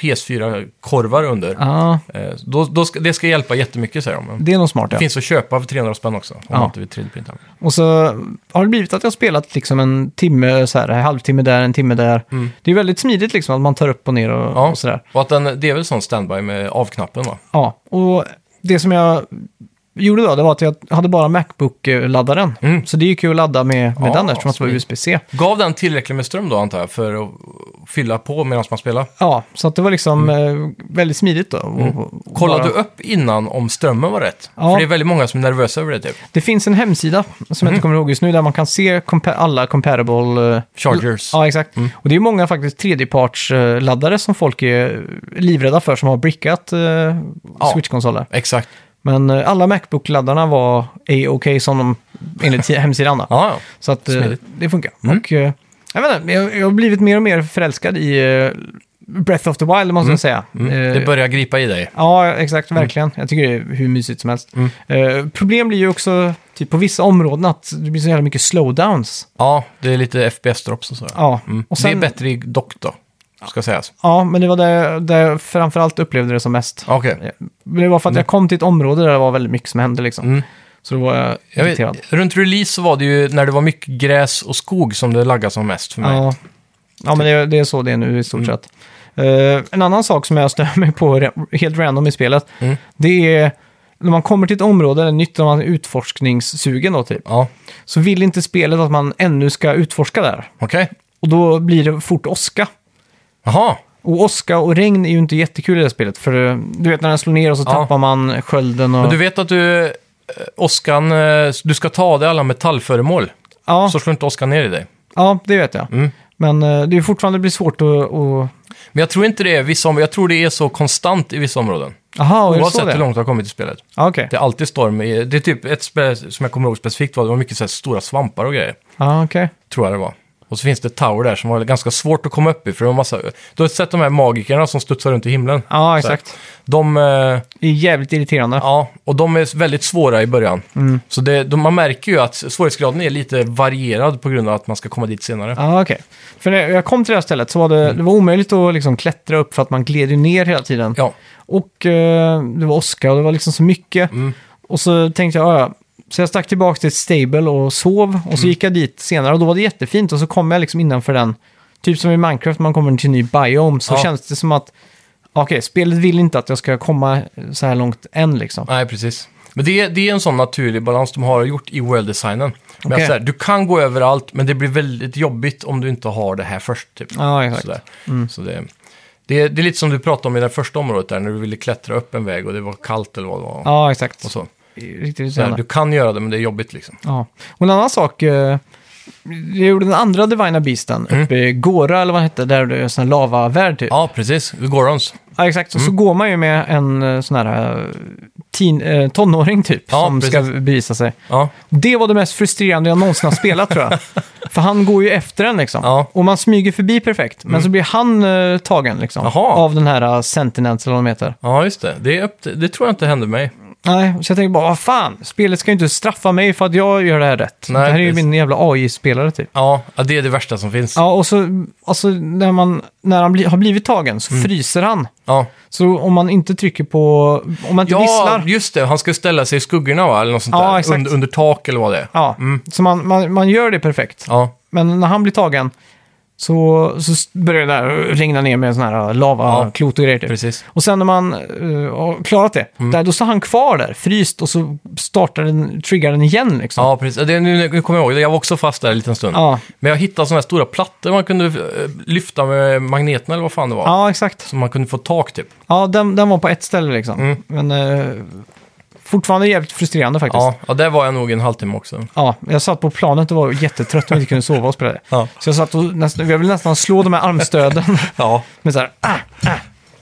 [SPEAKER 2] PS4-korvar under.
[SPEAKER 1] Ja,
[SPEAKER 2] Eh, Då, då ska, det ska hjälpa jättemycket säger de. Men
[SPEAKER 1] det är nog smart. Ja.
[SPEAKER 2] Det finns att köpa för 300 spänn också, om
[SPEAKER 1] Ja.
[SPEAKER 2] man inte vill 3D-printa.
[SPEAKER 1] Och så har det blivit att jag har spelat liksom en timme, så här, en halvtimme där, en timme där. Det är väldigt smidigt liksom att man tar upp och ner och,
[SPEAKER 2] Mm. Ja.
[SPEAKER 1] och sådär.
[SPEAKER 2] Och att den, det är väl sån standby med avknappen va?
[SPEAKER 1] Ja, och det som jag gjorde då, det var att jag hade bara Macbook-laddaren.
[SPEAKER 2] Mm.
[SPEAKER 1] Så det gick ju att ladda med, med
[SPEAKER 2] Ja,
[SPEAKER 1] den där, eftersom att det var
[SPEAKER 2] smidigt.
[SPEAKER 1] USB-C.
[SPEAKER 2] Gav den tillräckligt med ström då antar jag, för att fylla på medan man spelar?
[SPEAKER 1] Ja, så att det var liksom eh, väldigt smidigt då. Och, och
[SPEAKER 2] Mm. Kollade
[SPEAKER 1] bara-
[SPEAKER 2] du upp innan om strömmen var rätt?
[SPEAKER 1] Ja.
[SPEAKER 2] För det är väldigt många som är nervösa över det typ.
[SPEAKER 1] Det finns en hemsida som
[SPEAKER 2] Mhm.
[SPEAKER 1] jag inte kommer ihåg just nu, där man kan se compa- alla comparable... eh,
[SPEAKER 2] Chargers. Mm.
[SPEAKER 1] Ja, exakt. Och det är många faktiskt tredjepartsladdare som folk är livrädda för som har brickat eh, Switch-konsoler.
[SPEAKER 2] Exakt.
[SPEAKER 1] Men eh, alla Macbook-laddarna var A-OK som de, enligt hemsidan. Då.
[SPEAKER 2] Ja, ja.
[SPEAKER 1] Så att eh,
[SPEAKER 2] smidigt. Mm.
[SPEAKER 1] det funkar. Och, eh, jag, vet inte, jag, jag har blivit mer och mer förälskad i eh, Breath of the Wild, måste jag säga. Eh,
[SPEAKER 2] Mm. Det börjar gripa i dig.
[SPEAKER 1] Ja, exakt.
[SPEAKER 2] Mm.
[SPEAKER 1] Verkligen. Jag tycker det är hur mysigt som helst. Eh, problem blir ju också typ, på vissa områden att det blir så jävla mycket slowdowns.
[SPEAKER 2] Ja, det är lite FPS-drops och sådär.
[SPEAKER 1] Ja,
[SPEAKER 2] Mm.
[SPEAKER 1] och sen,
[SPEAKER 2] Det är bättre i dock då, ska sägas.
[SPEAKER 1] ja men det var där, där jag framförallt upplevde det som mest.
[SPEAKER 2] Okej.
[SPEAKER 1] Men det var för att jag kom till ett område där det var väldigt mycket som hände liksom.
[SPEAKER 2] Mm.
[SPEAKER 1] Så då var jag,
[SPEAKER 2] Jag
[SPEAKER 1] irriterad.
[SPEAKER 2] vet, runt release så var det ju när det var mycket gräs och skog som det laggade som mest för mig.
[SPEAKER 1] Ja, ja men det, är- det är så det är nu i
[SPEAKER 2] Mm.
[SPEAKER 1] stort sett. Eh, en annan sak som jag stör mig på re- helt random i spelet,
[SPEAKER 2] Mm.
[SPEAKER 1] det är när man kommer till ett område, eller nytt, när man är utforskningssugen då typ,
[SPEAKER 2] Ja,
[SPEAKER 1] så vill inte spelet att man ännu ska utforska där.
[SPEAKER 2] okej.
[SPEAKER 1] Och då blir det fort åska.
[SPEAKER 2] Jaha,
[SPEAKER 1] Och åska och regn är ju inte jättekul i det här spelet, för eh, du vet när den slår ner och så
[SPEAKER 2] Ja.
[SPEAKER 1] tappar man skölden och...
[SPEAKER 2] men du vet att du, eh, åskan, eh, du ska ta av dig alla metallföremål.
[SPEAKER 1] ja,
[SPEAKER 2] Så Mm. slår inte åskan ner i dig.
[SPEAKER 1] ja, det vet jag. Men eh, det är fortfarande blir svårt att... att...
[SPEAKER 2] Men jag tror inte det är vissa områden, jag tror det är så konstant i vissa områden.
[SPEAKER 1] Aha, är det så
[SPEAKER 2] Oavsett
[SPEAKER 1] det?
[SPEAKER 2] hur långt du har kommit i spelet.
[SPEAKER 1] Ja, okej.
[SPEAKER 2] Det är alltid storm, i, det är typ ett spe, som jag kommer ihåg specifikt var, det var mycket så här stora svampar och grejer.
[SPEAKER 1] Ja, okej.
[SPEAKER 2] Tror jag det var. Och så finns det ett tower där som var ganska svårt att komma upp i. För det var massa... Du har sett de här magikerna som studsar runt i himlen?
[SPEAKER 1] Ja,
[SPEAKER 2] Så här.
[SPEAKER 1] exakt.
[SPEAKER 2] De... eh,
[SPEAKER 1] Det är jävligt irriterande.
[SPEAKER 2] Ja, och de är väldigt svåra i början. Så det, de, man märker ju att svårighetsgraden är lite varierad på grund av att man ska komma dit senare.
[SPEAKER 1] Ja, okej. För när jag kom till det här stället så var
[SPEAKER 2] Mm.
[SPEAKER 1] det, det var omöjligt att liksom klättra upp för att man gled ju ner hela tiden.
[SPEAKER 2] Ja,
[SPEAKER 1] Och eh, det var åska och det var liksom så mycket.
[SPEAKER 2] Mm.
[SPEAKER 1] Och så tänkte jag, "Ja, ja. Så jag stack tillbaka till ett stable och sov.
[SPEAKER 2] Mm.
[SPEAKER 1] Och så gick jag dit senare och då var det jättefint. Och så kom jag liksom innanför den, typ som i Minecraft, man kommer till en ny biome. Så
[SPEAKER 2] Ja.
[SPEAKER 1] känns det som att, okej, spelet vill inte att jag ska komma så här långt än liksom.
[SPEAKER 2] nej precis. Men det, är- det är en sån naturlig balans de har gjort i world-designen. Men
[SPEAKER 1] Okej.
[SPEAKER 2] att så här, du kan gå överallt, men det blir väldigt jobbigt om du inte har det här först. Typ.
[SPEAKER 1] Ja, exakt. Mm.
[SPEAKER 2] Sådär. Så det, det, är- det är lite som du pratade om i det första området där, när du ville klättra upp en väg och det var kallt eller vad det var.
[SPEAKER 1] Ja, exakt.
[SPEAKER 2] Och så.
[SPEAKER 1] Riktigt
[SPEAKER 2] Så här,
[SPEAKER 1] irriterande.
[SPEAKER 2] du kan göra det, men det är jobbigt liksom.
[SPEAKER 1] Ja. Och en annan sak, eh, jag gjorde den andra Divina Beasten
[SPEAKER 2] Mm.
[SPEAKER 1] uppe i Gora, eller vad det hette, där det är en sån här lavavärld typ.
[SPEAKER 2] Ja, precis. Gorons.
[SPEAKER 1] Ja, exakt.
[SPEAKER 2] Mm.
[SPEAKER 1] Och så går man ju med en eh, sån här eh, teen, eh, tonåring typ,
[SPEAKER 2] Ja,
[SPEAKER 1] som
[SPEAKER 2] precis.
[SPEAKER 1] ska bevisa sig.
[SPEAKER 2] Ja,
[SPEAKER 1] Det var det mest frustrerande jag någonsin har spelat tror jag. För han går ju efter en liksom.
[SPEAKER 2] Ja. Mm.
[SPEAKER 1] Och man smyger förbi perfekt, men så blir han eh, tagen liksom.
[SPEAKER 2] Jaha.
[SPEAKER 1] Av den här uh, Sentinels eller vad de heter.
[SPEAKER 2] ja just det. Det, är upp, till- det tror jag inte hände mig.
[SPEAKER 1] Nej, så jag tänker bara, vad fan, spelet ska ju inte straffa mig för att jag gör det här rätt.
[SPEAKER 2] Nej,
[SPEAKER 1] det här är ju
[SPEAKER 2] precis.
[SPEAKER 1] min jävla AI-spelare typ.
[SPEAKER 2] Ja, ja, det är det värsta som finns.
[SPEAKER 1] Ja, och så alltså, när, man, när han bli, har blivit tagen
[SPEAKER 2] Mm.
[SPEAKER 1] så fryser han.
[SPEAKER 2] Ja.
[SPEAKER 1] Så om man inte trycker på, om man inte
[SPEAKER 2] Ja,
[SPEAKER 1] visslar.
[SPEAKER 2] just det. Han ska ställa sig i skuggorna va? Eller något sånt
[SPEAKER 1] Ja,
[SPEAKER 2] där.
[SPEAKER 1] exakt.
[SPEAKER 2] Under, under tak eller vad det är.
[SPEAKER 1] Ja, så man, man, man gör det perfekt.
[SPEAKER 2] Mm. Ja,
[SPEAKER 1] Men när han blir tagen så, så s- börjar det där regna ner med sån här
[SPEAKER 2] Ja,
[SPEAKER 1] lavaklot och grejer. Typ.
[SPEAKER 2] precis. Mm.
[SPEAKER 1] Och sen när man eh, har klarat det, där, då står han kvar där, fryst, och så startar den, triggar den igen liksom.
[SPEAKER 2] Ja, precis. Ja, Det, nu, nu kommer jag ihåg det. Jag var också fast där en liten stund.
[SPEAKER 1] Ja.
[SPEAKER 2] Men jag hittade sådana här stora plattor man kunde eh, lyfta med magneten eller vad fan det var.
[SPEAKER 1] Ja, exakt.
[SPEAKER 2] Som man kunde få tak typ.
[SPEAKER 1] Ja, den, den var på ett ställe liksom.
[SPEAKER 2] Mm.
[SPEAKER 1] Men eh, fortfarande jävligt frustrerande faktiskt.
[SPEAKER 2] Ja, ja, där var jag nog en halvtimme också.
[SPEAKER 1] Ja, jag satt på planet och var jättetrött och inte kunde sova och spela det.
[SPEAKER 2] Ja.
[SPEAKER 1] Så jag satt och nästan, jag ville nästan slå de här armstöden.
[SPEAKER 2] Ja,
[SPEAKER 1] Men så här, ah, ah.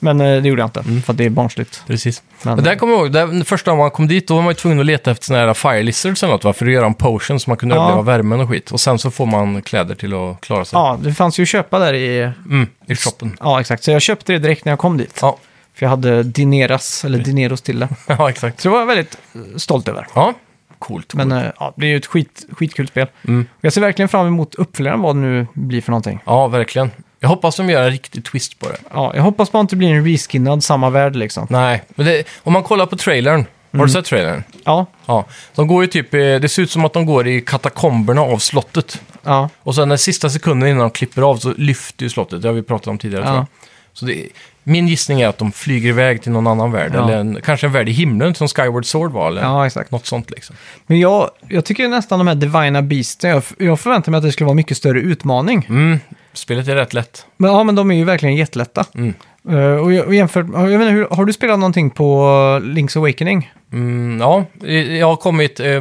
[SPEAKER 1] Men eh, det gjorde jag inte, för att det är barnsligt.
[SPEAKER 2] precis.
[SPEAKER 1] Men- eh,
[SPEAKER 2] Men, där kommer jag ihåg, där, första gången man kom dit då var man ju tvungen att leta efter sådana här fire lizards eller något va? För att göra en potion så man kunde
[SPEAKER 1] Ja.
[SPEAKER 2] överleva värmen och skit. Och sen så får man kläder till att klara sig.
[SPEAKER 1] Ja, det fanns ju att köpa där i...
[SPEAKER 2] Mm, I shoppen.
[SPEAKER 1] Ja, exakt. Så jag köpte det direkt när jag kom dit.
[SPEAKER 2] Ja,
[SPEAKER 1] För jag hade dineras, eller dineros till det.
[SPEAKER 2] ja exakt.
[SPEAKER 1] Så det var jag väldigt eh, stolt över.
[SPEAKER 2] Ja, coolt.
[SPEAKER 1] Men eh, ja, det är ju ett skit, skitkul spel. Och Jag ser verkligen fram emot uppföljaren, vad det nu blir för någonting.
[SPEAKER 2] Ja, verkligen. Jag hoppas de gör en riktig twist på det.
[SPEAKER 1] Ja, jag hoppas bara inte blir en reskinnad samma värld liksom.
[SPEAKER 2] Nej, men det, om man kollar på trailern. Har
[SPEAKER 1] Mm.
[SPEAKER 2] du sett trailern?
[SPEAKER 1] Ja,
[SPEAKER 2] Ja. De går ju typ, eh, det ser ut som att de går i katakomberna av slottet.
[SPEAKER 1] ja,
[SPEAKER 2] Och sen den sista sekunden innan de klipper av så lyfter ju slottet. Det har vi pratat om tidigare tror
[SPEAKER 1] Ja.
[SPEAKER 2] jag. Så det, min gissning är att de flyger iväg till någon annan värld.
[SPEAKER 1] Ja.
[SPEAKER 2] Eller en, kanske en värld i himlen som Skyward Sword var. Eller
[SPEAKER 1] ja exakt.
[SPEAKER 2] något sånt liksom.
[SPEAKER 1] Men jag, jag tycker nästan de här Divina Beasten, jag, jag förväntar mig att det skulle vara mycket större utmaning.
[SPEAKER 2] Mm, spelet är rätt lätt.
[SPEAKER 1] Men ja, men de är ju verkligen jättelätta.
[SPEAKER 2] Mm.
[SPEAKER 1] Eh, och, jag, och jämfört, jag vet inte, hur, har du spelat någonting på eh, Link's Awakening?
[SPEAKER 2] Mm, ja, eh, jag har kommit... Eh,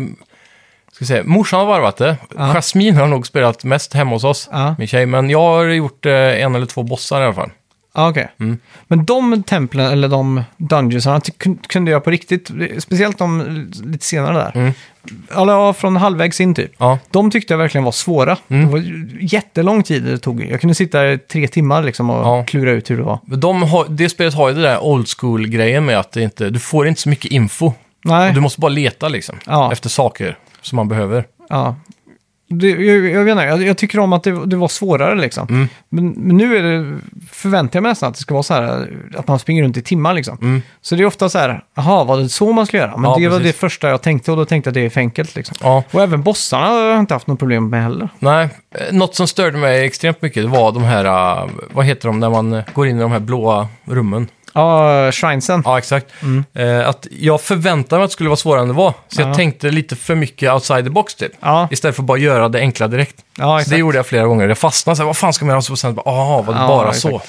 [SPEAKER 2] ska säga, morsan har varvat det.
[SPEAKER 1] Ja.
[SPEAKER 2] Jasmine har nog spelat mest hemma hos oss,
[SPEAKER 1] Ja.
[SPEAKER 2] min tjej. Men jag har gjort eh, en eller två bossar i alla fall.
[SPEAKER 1] Ja, okej.
[SPEAKER 2] Mm.
[SPEAKER 1] Men de templen, eller de dungeonsarna, ty- kun- kunde jag på riktigt, speciellt de lite senare där.
[SPEAKER 2] Mm.
[SPEAKER 1] Eller ja, från halvvägs in typ.
[SPEAKER 2] Ja,
[SPEAKER 1] De tyckte jag verkligen var svåra.
[SPEAKER 2] Mm.
[SPEAKER 1] Det var ju jättelång tid det tog. Jag kunde sitta i tre timmar liksom och
[SPEAKER 2] Ja.
[SPEAKER 1] klura ut hur det var.
[SPEAKER 2] de har, det spelet har ju det där old school-grejen med att det inte, du får inte så mycket info.
[SPEAKER 1] Nej.
[SPEAKER 2] Du måste bara leta liksom,
[SPEAKER 1] Ja.
[SPEAKER 2] efter saker som man behöver.
[SPEAKER 1] Ja. Det, jag, jag, vet inte, jag, jag tycker om att det, det var svårare liksom.
[SPEAKER 2] Mm.
[SPEAKER 1] Men, men nu är det, förväntar jag mig nästan att det ska vara så här, att man springer runt i timmar liksom.
[SPEAKER 2] Mm.
[SPEAKER 1] Så det är ofta så här, jaha, var det så man skulle göra? Men
[SPEAKER 2] Ja,
[SPEAKER 1] det var det
[SPEAKER 2] precis.
[SPEAKER 1] första jag tänkte och då tänkte jag att det är för enkelt liksom.
[SPEAKER 2] Ja,
[SPEAKER 1] Och även bossarna har jag inte haft något problem med heller.
[SPEAKER 2] nej. Eh, Något som störde mig extremt mycket var de här, eh, vad heter de när man eh, går in i de här blåa rummen?
[SPEAKER 1] Ja, shrinesen.
[SPEAKER 2] Ja, exakt. Eh, att jag förväntade mig att det skulle vara svårare än det var. Så
[SPEAKER 1] Mm. Ja.
[SPEAKER 2] jag tänkte lite för mycket outside the box typ.
[SPEAKER 1] Ja,
[SPEAKER 2] Istället för att bara göra det enkla direkt.
[SPEAKER 1] ja
[SPEAKER 2] så det
[SPEAKER 1] exakt.
[SPEAKER 2] gjorde jag flera gånger. Jag fastnade så här, vad fan ska man göra? Och så sen bara, aha, var det
[SPEAKER 1] Ja,
[SPEAKER 2] bara
[SPEAKER 1] exakt.
[SPEAKER 2] så?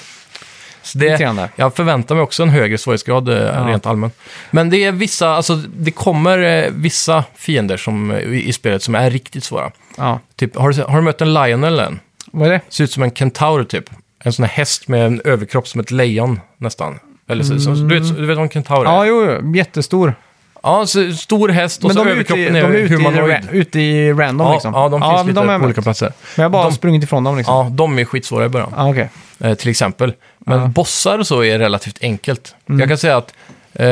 [SPEAKER 2] så
[SPEAKER 1] Lite
[SPEAKER 2] det,
[SPEAKER 1] grann där.
[SPEAKER 2] jag förväntar mig också en högre svårighetsgrad eh, rent allmänt. Men det är vissa, alltså det kommer eh, vissa fiender som, eh, i, i spelet som är riktigt svåra.
[SPEAKER 1] Ja.
[SPEAKER 2] Typ, har, du, se- har du mött en Lionel än?
[SPEAKER 1] Vad är det?
[SPEAKER 2] Ser ut som en kentaur typ. En sån här häst med en
[SPEAKER 1] Mm.
[SPEAKER 2] överkropp som ett lejon nästan. Eller så, så, du, vet, du vet vad en kentaur är?
[SPEAKER 1] Ja, jo, jo, jättestor.
[SPEAKER 2] Ja, så stor häst och
[SPEAKER 1] Men
[SPEAKER 2] så
[SPEAKER 1] de är ute,
[SPEAKER 2] överkroppen
[SPEAKER 1] i-
[SPEAKER 2] är,
[SPEAKER 1] de är ute, i,
[SPEAKER 2] humanoid.
[SPEAKER 1] ra- ute i random
[SPEAKER 2] ja,
[SPEAKER 1] liksom.
[SPEAKER 2] ja, de finns
[SPEAKER 1] men
[SPEAKER 2] lite
[SPEAKER 1] är
[SPEAKER 2] på
[SPEAKER 1] med.
[SPEAKER 2] olika platser.
[SPEAKER 1] Men jag har bara
[SPEAKER 2] De-
[SPEAKER 1] sprungit ifrån dem liksom. Ja,
[SPEAKER 2] Ja, de är skitsvåra i början.
[SPEAKER 1] ah, okej.
[SPEAKER 2] eh, till exempel. Men
[SPEAKER 1] Ja. Mm.
[SPEAKER 2] bossar och så är relativt enkelt. Jag kan säga att... Eh,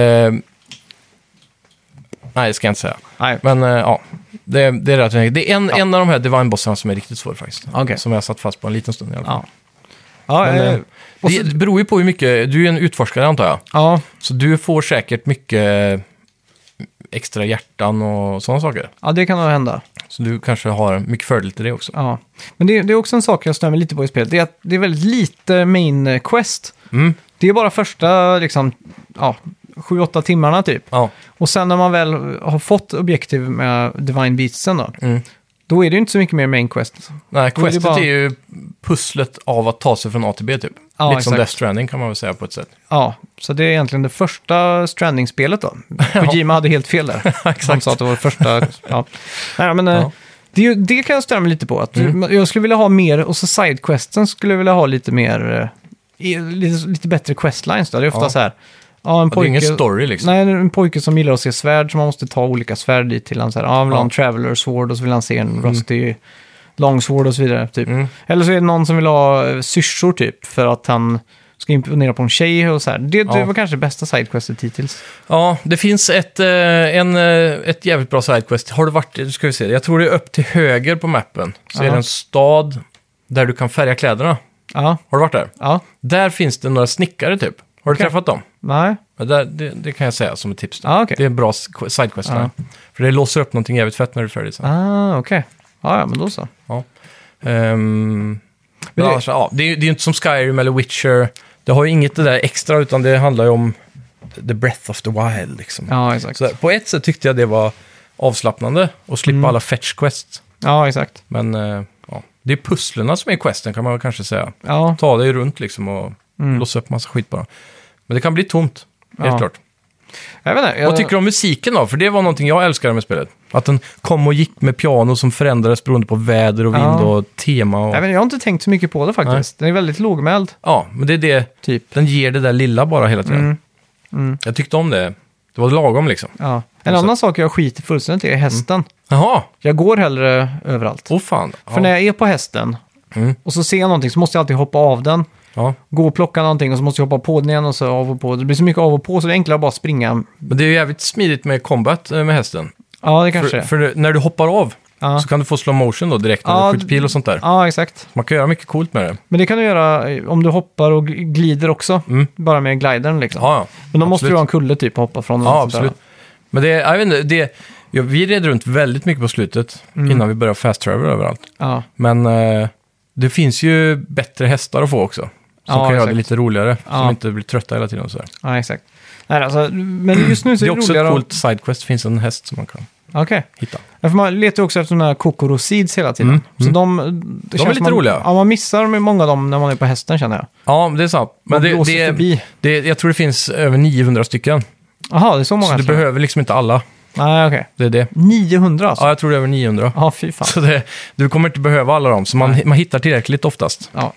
[SPEAKER 2] nej, det ska jag inte säga.
[SPEAKER 1] Nej.
[SPEAKER 2] Men eh, ja, det, det är relativt enkelt. Det är en, en av de här Divine-bossarna som är riktigt svår faktiskt.
[SPEAKER 1] Okej.
[SPEAKER 2] Som jag satt fast på en liten stund i alla fall.
[SPEAKER 1] Ja. Ja,
[SPEAKER 2] Men,
[SPEAKER 1] eh,
[SPEAKER 2] eh,
[SPEAKER 1] och
[SPEAKER 2] det
[SPEAKER 1] så,
[SPEAKER 2] beror ju på hur mycket... Du är en utforskare antar jag.
[SPEAKER 1] ja,
[SPEAKER 2] Så du får säkert mycket mm, extra hjärtan och sådana saker.
[SPEAKER 1] ja, det kan nog hända.
[SPEAKER 2] Så du kanske har mycket fördel till det också.
[SPEAKER 1] Ja. Men det, det är också en sak jag stör mig lite på i spelet. Det är att det är väldigt lite main quest.
[SPEAKER 2] Mm.
[SPEAKER 1] Det är bara första liksom, ja, 7-8 timmarna typ.
[SPEAKER 2] Ja,
[SPEAKER 1] Och sen när man väl har fått objektiv med Divine Beatsen då,
[SPEAKER 2] Mm.
[SPEAKER 1] då är det ju inte så mycket mer main quest.
[SPEAKER 2] nej,
[SPEAKER 1] Då är det
[SPEAKER 2] questet
[SPEAKER 1] bara-
[SPEAKER 2] är ju pusslet av att ta sig från A till B typ.
[SPEAKER 1] Ja,
[SPEAKER 2] Lite som
[SPEAKER 1] exakt.
[SPEAKER 2] Death Stranding kan man väl säga på ett sätt.
[SPEAKER 1] Ja, så det är egentligen det första Stranding-spelet då. Kojima hade helt fel där. Han sa att det var det första. Ja. Nej, men, eh,
[SPEAKER 2] Ja. Mm.
[SPEAKER 1] Det, är ju- det kan jag störa mig lite på. Att Jag skulle vilja ha mer, och så sidequesten skulle jag vilja ha lite mer, eh, i- lite, lite bättre questlines. Då. Det är ofta
[SPEAKER 2] Ja.
[SPEAKER 1] så här, ja, en
[SPEAKER 2] Ja, Det är
[SPEAKER 1] pojke,
[SPEAKER 2] ingen story liksom.
[SPEAKER 1] nej, en pojke som gillar att se svärd, så man måste ta olika svärd dit till. Han så här, ja, han vill ha en
[SPEAKER 2] Ja.
[SPEAKER 1] traveler sword och så vill han se en rusty longsword och så vidare. Typ.
[SPEAKER 2] Mm.
[SPEAKER 1] Eller så är det någon som vill ha eh, syrsor typ, för att han ska imponera på en tjej och så här. Det, det
[SPEAKER 2] Ja.
[SPEAKER 1] var kanske det bästa sidequestet hittills.
[SPEAKER 2] Ja, det finns ett, eh, en, eh, ett jävligt bra sidequest. Har du varit, nu ska vi se, jag tror det är upp till höger på mappen. Så är
[SPEAKER 1] Ja.
[SPEAKER 2] det en stad där du kan färga kläderna.
[SPEAKER 1] Ja,
[SPEAKER 2] Har du varit där?
[SPEAKER 1] ja,
[SPEAKER 2] Där finns det några snickare typ. Har du
[SPEAKER 1] Okej.
[SPEAKER 2] träffat dem?
[SPEAKER 1] nej,
[SPEAKER 2] Ja, där, det, det kan jag säga som ett tips.
[SPEAKER 1] ja okej.
[SPEAKER 2] Det är en bra s- qu- sidequest.
[SPEAKER 1] Ja.
[SPEAKER 2] där. För det låser upp någonting jävligt fett när du följer det sen.
[SPEAKER 1] Ah, okej. Ja, ja, men då så.
[SPEAKER 2] Ehm,
[SPEAKER 1] Men
[SPEAKER 2] men
[SPEAKER 1] det-
[SPEAKER 2] annars, ja, det är ju det är ju inte som Skyrim eller Witcher. Det har ju inget det där extra, utan det handlar ju om the breath of the wild. Liksom.
[SPEAKER 1] Ja, exakt. Mm.
[SPEAKER 2] Så där, på ett sätt tyckte jag det var avslappnande att slippa alla fetch quest.
[SPEAKER 1] Ja, exakt.
[SPEAKER 2] Men eh, ja, det är pusslerna som är questen kan man väl kanske säga.
[SPEAKER 1] Ja,
[SPEAKER 2] Ta dig runt liksom och låsa upp massa skit bara. Men det kan bli tomt, helt
[SPEAKER 1] Mm. Ja.
[SPEAKER 2] klart.
[SPEAKER 1] jag vet inte. Jag,
[SPEAKER 2] Vad tycker du om musiken då? För det var någonting jag älskade med spelet. Att den kom och gick med piano som förändrades beroende på väder och vind
[SPEAKER 1] Ja.
[SPEAKER 2] och tema. Och...
[SPEAKER 1] jag, vet, inte, jag har inte tänkt så mycket på det faktiskt. Den är väldigt lågmäld,
[SPEAKER 2] Ja, men det är det.
[SPEAKER 1] typ.
[SPEAKER 2] Den ger det där lilla bara hela tiden.
[SPEAKER 1] Mm.
[SPEAKER 2] Jag tyckte om det. Det var lagom liksom.
[SPEAKER 1] Ja. En annan sak jag skiter fullständigt i är hästen.
[SPEAKER 2] Mm. Jaha,
[SPEAKER 1] Jag går hellre överallt.
[SPEAKER 2] åh fan. Ja.
[SPEAKER 1] För när jag är på hästen
[SPEAKER 2] Mm.
[SPEAKER 1] och så ser jag någonting så måste jag alltid hoppa av den.
[SPEAKER 2] ja.
[SPEAKER 1] Gå och plocka någonting och så måste jag hoppa på den igen och så av och på. Det blir så mycket av och på så det är enklare att bara springa.
[SPEAKER 2] Men det är ju jävligt smidigt med combat eh, med hästen.
[SPEAKER 1] Ja, det kanske
[SPEAKER 2] För,
[SPEAKER 1] är.
[SPEAKER 2] för när du hoppar av
[SPEAKER 1] Ja.
[SPEAKER 2] så kan du få slow motion då direkt när
[SPEAKER 1] Ja,
[SPEAKER 2] du skjuter pil och sånt där.
[SPEAKER 1] ja, exakt.
[SPEAKER 2] Man kan göra mycket coolt med det.
[SPEAKER 1] Men det kan du göra eh, om du hoppar och gl- glider också. Bara med glidern liksom.
[SPEAKER 2] Mm. Ja, ja.
[SPEAKER 1] Men då måste
[SPEAKER 2] Absolut.
[SPEAKER 1] du ha en kulle typ att hoppa från. och
[SPEAKER 2] Ja,
[SPEAKER 1] sånt där.
[SPEAKER 2] absolut. Men det, jag vet inte, det, ja, vi red runt väldigt mycket på slutet
[SPEAKER 1] Mm.
[SPEAKER 2] innan vi började fast travel överallt.
[SPEAKER 1] Ja.
[SPEAKER 2] Men eh, det finns ju bättre hästar att få också. Som
[SPEAKER 1] Ja,
[SPEAKER 2] kan göra det
[SPEAKER 1] exakt.
[SPEAKER 2] lite roligare. Som
[SPEAKER 1] Ja.
[SPEAKER 2] inte blir trötta hela tiden och sådär.
[SPEAKER 1] Ja, exakt. Nej, alltså, men just nu så
[SPEAKER 2] Det
[SPEAKER 1] är
[SPEAKER 2] är
[SPEAKER 1] det,
[SPEAKER 2] också
[SPEAKER 1] roligare
[SPEAKER 2] ett
[SPEAKER 1] att-
[SPEAKER 2] coolt sidequest. Det finns en häst som man kan
[SPEAKER 1] Okej.
[SPEAKER 2] hitta.
[SPEAKER 1] Ja, för Man letar ju också efter sådana här Kokoro Seeds hela tiden.
[SPEAKER 2] Mm,
[SPEAKER 1] Så de, det känns
[SPEAKER 2] lite
[SPEAKER 1] som man,
[SPEAKER 2] roliga.
[SPEAKER 1] Ja, man missar med många av dem när man är på hästen känner jag.
[SPEAKER 2] Ja, men det är sant. Men
[SPEAKER 1] Man
[SPEAKER 2] det,
[SPEAKER 1] blåser
[SPEAKER 2] det,
[SPEAKER 1] förbi.
[SPEAKER 2] det, jag tror det finns över 900 stycken.
[SPEAKER 1] Jaha, det är så många.
[SPEAKER 2] Så du
[SPEAKER 1] alltså.
[SPEAKER 2] behöver liksom inte alla.
[SPEAKER 1] Nej, okej.
[SPEAKER 2] Det är det.
[SPEAKER 1] 900 alltså?
[SPEAKER 2] Ja, jag tror det är över 900.
[SPEAKER 1] Ja, fy fan.
[SPEAKER 2] Så det, du kommer inte behöva alla dem, så man, man hittar tillräckligt oftast.
[SPEAKER 1] Ja.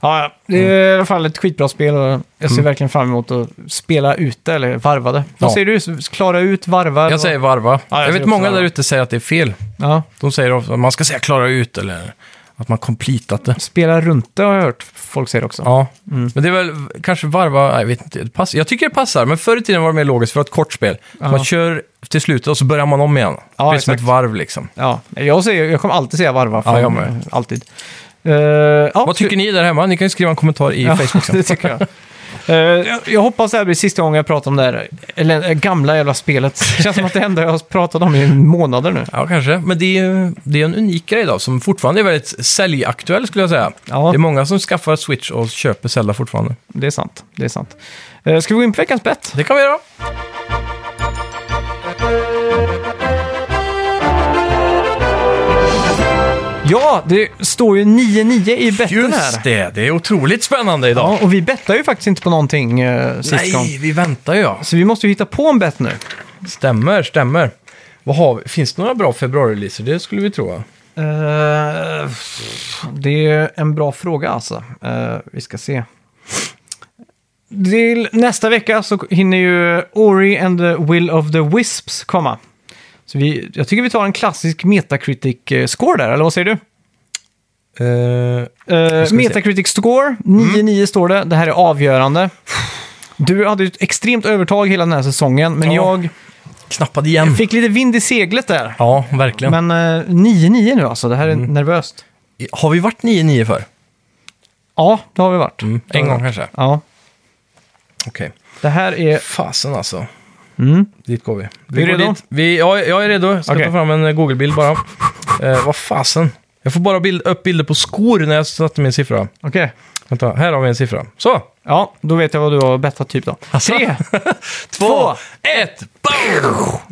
[SPEAKER 1] Ja, ja. det är
[SPEAKER 2] Mm.
[SPEAKER 1] i alla fall ett skitbra spel och jag ser verkligen fram emot att spela ute eller varva det. Vad
[SPEAKER 2] Ja.
[SPEAKER 1] säger du? Klara ut, varva?
[SPEAKER 2] Jag säger varva.
[SPEAKER 1] jag
[SPEAKER 2] jag,
[SPEAKER 1] säger
[SPEAKER 2] vet
[SPEAKER 1] också
[SPEAKER 2] många
[SPEAKER 1] varva.
[SPEAKER 2] där ute säger att det är fel.
[SPEAKER 1] Ja.
[SPEAKER 2] De säger ofta att man ska säga klara ut eller att man completat det.
[SPEAKER 1] Spela runt det har jag hört folk säger också.
[SPEAKER 2] Ja,
[SPEAKER 1] Mm.
[SPEAKER 2] men det är väl kanske varva, nej, jag vet inte, det passar. jag tycker det passar, men förr i tiden var det mer logiskt för att ett kort spel.
[SPEAKER 1] Ja.
[SPEAKER 2] Man kör till slutet och så börjar man om igen.
[SPEAKER 1] Ja,
[SPEAKER 2] Precis som ett
[SPEAKER 1] exakt.
[SPEAKER 2] varv liksom.
[SPEAKER 1] Ja, jag, säger, jag kommer alltid säga varva.
[SPEAKER 2] Ja, jag
[SPEAKER 1] fan.
[SPEAKER 2] med.
[SPEAKER 1] Alltid. Eh, ja,
[SPEAKER 2] Vad tycker ni där hemma? Ni kan ju skriva en kommentar i
[SPEAKER 1] Ja,
[SPEAKER 2] Facebook sen.
[SPEAKER 1] det tycker jag. Eh, jag- jag hoppas det här blir sista gången jag pratar om det här eller, eh, gamla jävla spelet. Det känns som att det enda jag har pratat om i månader nu.
[SPEAKER 2] Ja, kanske. Men det är, ju- det är en unik grej då, som fortfarande är väldigt säljaktuell skulle jag säga.
[SPEAKER 1] Ja.
[SPEAKER 2] Det är många som skaffar Switch och köper Zelda fortfarande.
[SPEAKER 1] Det är sant. Det är sant. Eh, Ska vi gå in på veckans bett?
[SPEAKER 2] Det kan vi göra.
[SPEAKER 1] Ja, det står ju 9-9 i betten här.
[SPEAKER 2] det, det är otroligt spännande idag.
[SPEAKER 1] Ja, och vi bettar ju faktiskt inte på någonting eh, sist gång.
[SPEAKER 2] Nej, vi väntar ju. ja.
[SPEAKER 1] Så vi måste ju hitta på en bett nu.
[SPEAKER 2] Stämmer, stämmer. Vad har vi? Finns det några bra februari-releaser? Det skulle vi tro. va?
[SPEAKER 1] Eh, det är en bra fråga alltså. Eh, vi ska se. Till nästa vecka så hinner ju Ori and the Will of the Wisps komma. Så vi, jag tycker vi tar en klassisk Metacritic-score där, eller vad säger du?
[SPEAKER 2] Eh,
[SPEAKER 1] Eh,
[SPEAKER 2] se. Mm.
[SPEAKER 1] Metacritic score, 9-9 står det. Det här är avgörande. Du hade ju ett extremt övertag hela den här säsongen, men
[SPEAKER 2] Ja.
[SPEAKER 1] jag
[SPEAKER 2] knappade igen.
[SPEAKER 1] fick lite vind i seglet där.
[SPEAKER 2] Ja, Mm. verkligen.
[SPEAKER 1] Men eh, 9-9 nu alltså, det här är nervöst.
[SPEAKER 2] Har vi varit 9-9 för?
[SPEAKER 1] Ja, det har vi varit. Det har
[SPEAKER 2] En
[SPEAKER 1] vi
[SPEAKER 2] gång
[SPEAKER 1] varit.
[SPEAKER 2] kanske?
[SPEAKER 1] Ja,
[SPEAKER 2] Okej.
[SPEAKER 1] det här är...
[SPEAKER 2] Fasen alltså.
[SPEAKER 1] Mm.
[SPEAKER 2] Dit går vi.
[SPEAKER 1] Är
[SPEAKER 2] vi
[SPEAKER 1] du
[SPEAKER 2] går
[SPEAKER 1] redo?
[SPEAKER 2] Dit. Vi, ja, jag är redo. Jag ska
[SPEAKER 1] Okej.
[SPEAKER 2] ta fram en eh, Google-bild bara. Eh, vad fasen? Jag får bara bild, upp bilder på skor när jag satte min siffra.
[SPEAKER 1] Okej.
[SPEAKER 2] Vänta, här har vi en siffra. Så!
[SPEAKER 1] Ja, då vet jag vad du har bettat typ då.
[SPEAKER 2] Alltså.
[SPEAKER 1] Tre! Två,
[SPEAKER 2] ett,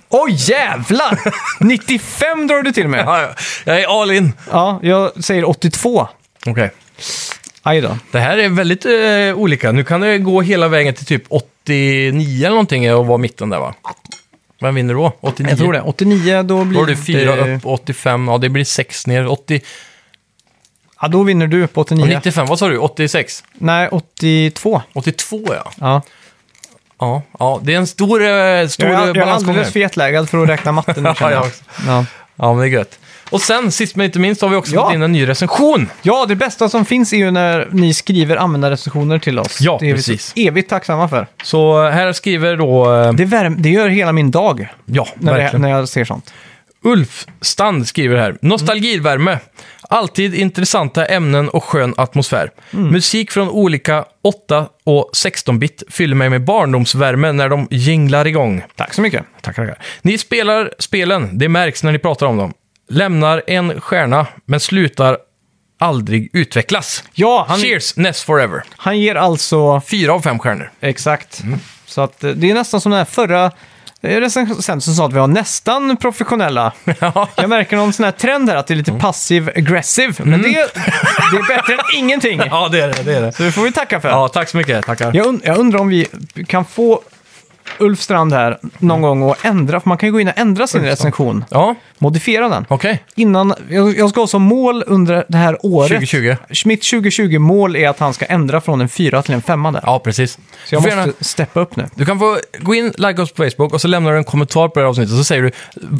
[SPEAKER 1] Oj jävlar! 95 drar du till med.
[SPEAKER 2] Ja, ja. Jag är all in.
[SPEAKER 1] Ja, jag säger 82.
[SPEAKER 2] Okej.
[SPEAKER 1] Aj då.
[SPEAKER 2] Det här är väldigt eh, olika. Nu kan det gå hela vägen till typ 89 eller någonting eh, och vara mitten där va? Vem vinner då? 89?
[SPEAKER 1] Jag tror det. 89, då blir
[SPEAKER 2] Då har du fyra
[SPEAKER 1] det...
[SPEAKER 2] upp, 85, ja det blir sex ner, 80,
[SPEAKER 1] Ja, då vinner du på 89.
[SPEAKER 2] och 95, vad sa du? 86?
[SPEAKER 1] Nej, 82.
[SPEAKER 2] 82 ja.
[SPEAKER 1] Ja.
[SPEAKER 2] Ja, ja det är en stor, eh, stor
[SPEAKER 1] jag, är- jag är
[SPEAKER 2] balansgång
[SPEAKER 1] alldeles
[SPEAKER 2] här.
[SPEAKER 1] för jetlaggad för att räkna matten nu känner
[SPEAKER 2] Ja, jag
[SPEAKER 1] jag.
[SPEAKER 2] också.
[SPEAKER 1] Ja.
[SPEAKER 2] Ja, men det är gött. Och sen, sist men inte minst, har vi också
[SPEAKER 1] Ja.
[SPEAKER 2] fått in en ny recension.
[SPEAKER 1] ja, det bästa som finns är ju när ni skriver användarrecensioner till oss.
[SPEAKER 2] Ja,
[SPEAKER 1] det är vi så
[SPEAKER 2] precis.
[SPEAKER 1] evigt tacksamma för.
[SPEAKER 2] Så eh, här skriver då... eh,
[SPEAKER 1] Det, värm, det gör hela min dag
[SPEAKER 2] ja,
[SPEAKER 1] när, det,
[SPEAKER 2] verkligen.
[SPEAKER 1] när jag ser sånt.
[SPEAKER 2] Ulf Strand skriver här. Nostalgivärme. Alltid intressanta ämnen och skön atmosfär.
[SPEAKER 1] Mm.
[SPEAKER 2] Musik från olika 8 och 16-bit fyller mig med barndomsvärme när de jinglar igång.
[SPEAKER 1] Tack så mycket.
[SPEAKER 2] Tackar, tackar. Ni spelar spelen, det märks när ni pratar om dem. Lämnar en stjärna, men slutar aldrig utvecklas.
[SPEAKER 1] Ja, han,
[SPEAKER 2] Cheers, Ness Forever.
[SPEAKER 1] han ger alltså...
[SPEAKER 2] Fyra av fem stjärnor.
[SPEAKER 1] Exakt. Så att eh, det är nästan som den här förra eh, recensenten som sa att vi har nästan professionella. Jag märker någon sån här trend här att det är
[SPEAKER 2] Mm.
[SPEAKER 1] lite passiv aggressive. Men det, det är bättre än ingenting.
[SPEAKER 2] Ja, det är det. det, är det.
[SPEAKER 1] Så det får vi tacka för.
[SPEAKER 2] Ja, tack så mycket. Tackar.
[SPEAKER 1] Jag, und jag undrar om vi kan få Ulf Strand här
[SPEAKER 2] Mm.
[SPEAKER 1] någon gång och ändra, för man kan ju gå in och ändra sin recension.
[SPEAKER 2] Ja,
[SPEAKER 1] Modifiera den.
[SPEAKER 2] okej.
[SPEAKER 1] Innan, jag, jag ska ha som mål under det här året.
[SPEAKER 2] 2020.
[SPEAKER 1] Mitt 2020-mål är att han ska ändra från en fyra till en femma där.
[SPEAKER 2] Ja, precis.
[SPEAKER 1] Så
[SPEAKER 2] Du
[SPEAKER 1] jag
[SPEAKER 2] får gärna-
[SPEAKER 1] måste steppa upp nu.
[SPEAKER 2] Du kan få gå in, like oss på Facebook och så lämnar du en kommentar på det här avsnittet. Så säger du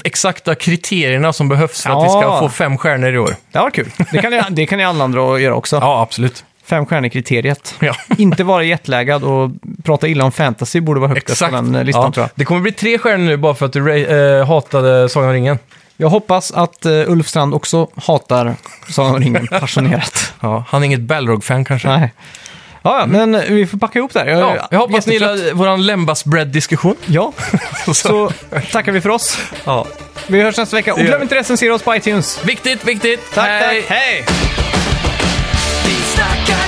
[SPEAKER 2] exakta kriterierna som behövs för att vi
[SPEAKER 1] Ja.
[SPEAKER 2] ska få fem stjärnor i år.
[SPEAKER 1] Det var kul. Det kan ni, det kan ni alla andra göra också.
[SPEAKER 2] Ja, absolut.
[SPEAKER 1] Fem stjärnor-kriteriet.
[SPEAKER 2] Ja.
[SPEAKER 1] Inte vara jetlaggad och prata illa om fantasy borde vara högt upp
[SPEAKER 2] Exakt.
[SPEAKER 1] på den eh, listan
[SPEAKER 2] Ja.
[SPEAKER 1] tror jag.
[SPEAKER 2] Det kommer bli tre stjärnor nu bara för att du ra- eh, hatade Sagan om ringen.
[SPEAKER 1] Jag hoppas att eh, Ulf Strand också hatar Sagan om ringen passionerat.
[SPEAKER 2] Ja, han är inget Balrog-fan kanske.
[SPEAKER 1] Nej. Ja, ja, men eh, vi får packa ihop där. Jag, är
[SPEAKER 2] Mm. Ja, jag hoppas ni
[SPEAKER 1] jättetrött.
[SPEAKER 2] gillar vår Lembas-bread-diskussion.
[SPEAKER 1] Ja, så tackar vi för oss.
[SPEAKER 2] Ja.
[SPEAKER 1] Vi hörs nästa vecka. Och
[SPEAKER 2] gör
[SPEAKER 1] glöm
[SPEAKER 2] vi.
[SPEAKER 1] inte recensera oss på iTunes.
[SPEAKER 2] Viktigt, viktigt.
[SPEAKER 1] Tack,
[SPEAKER 2] Hej.
[SPEAKER 1] tack. Hej!
[SPEAKER 3] Vi snackar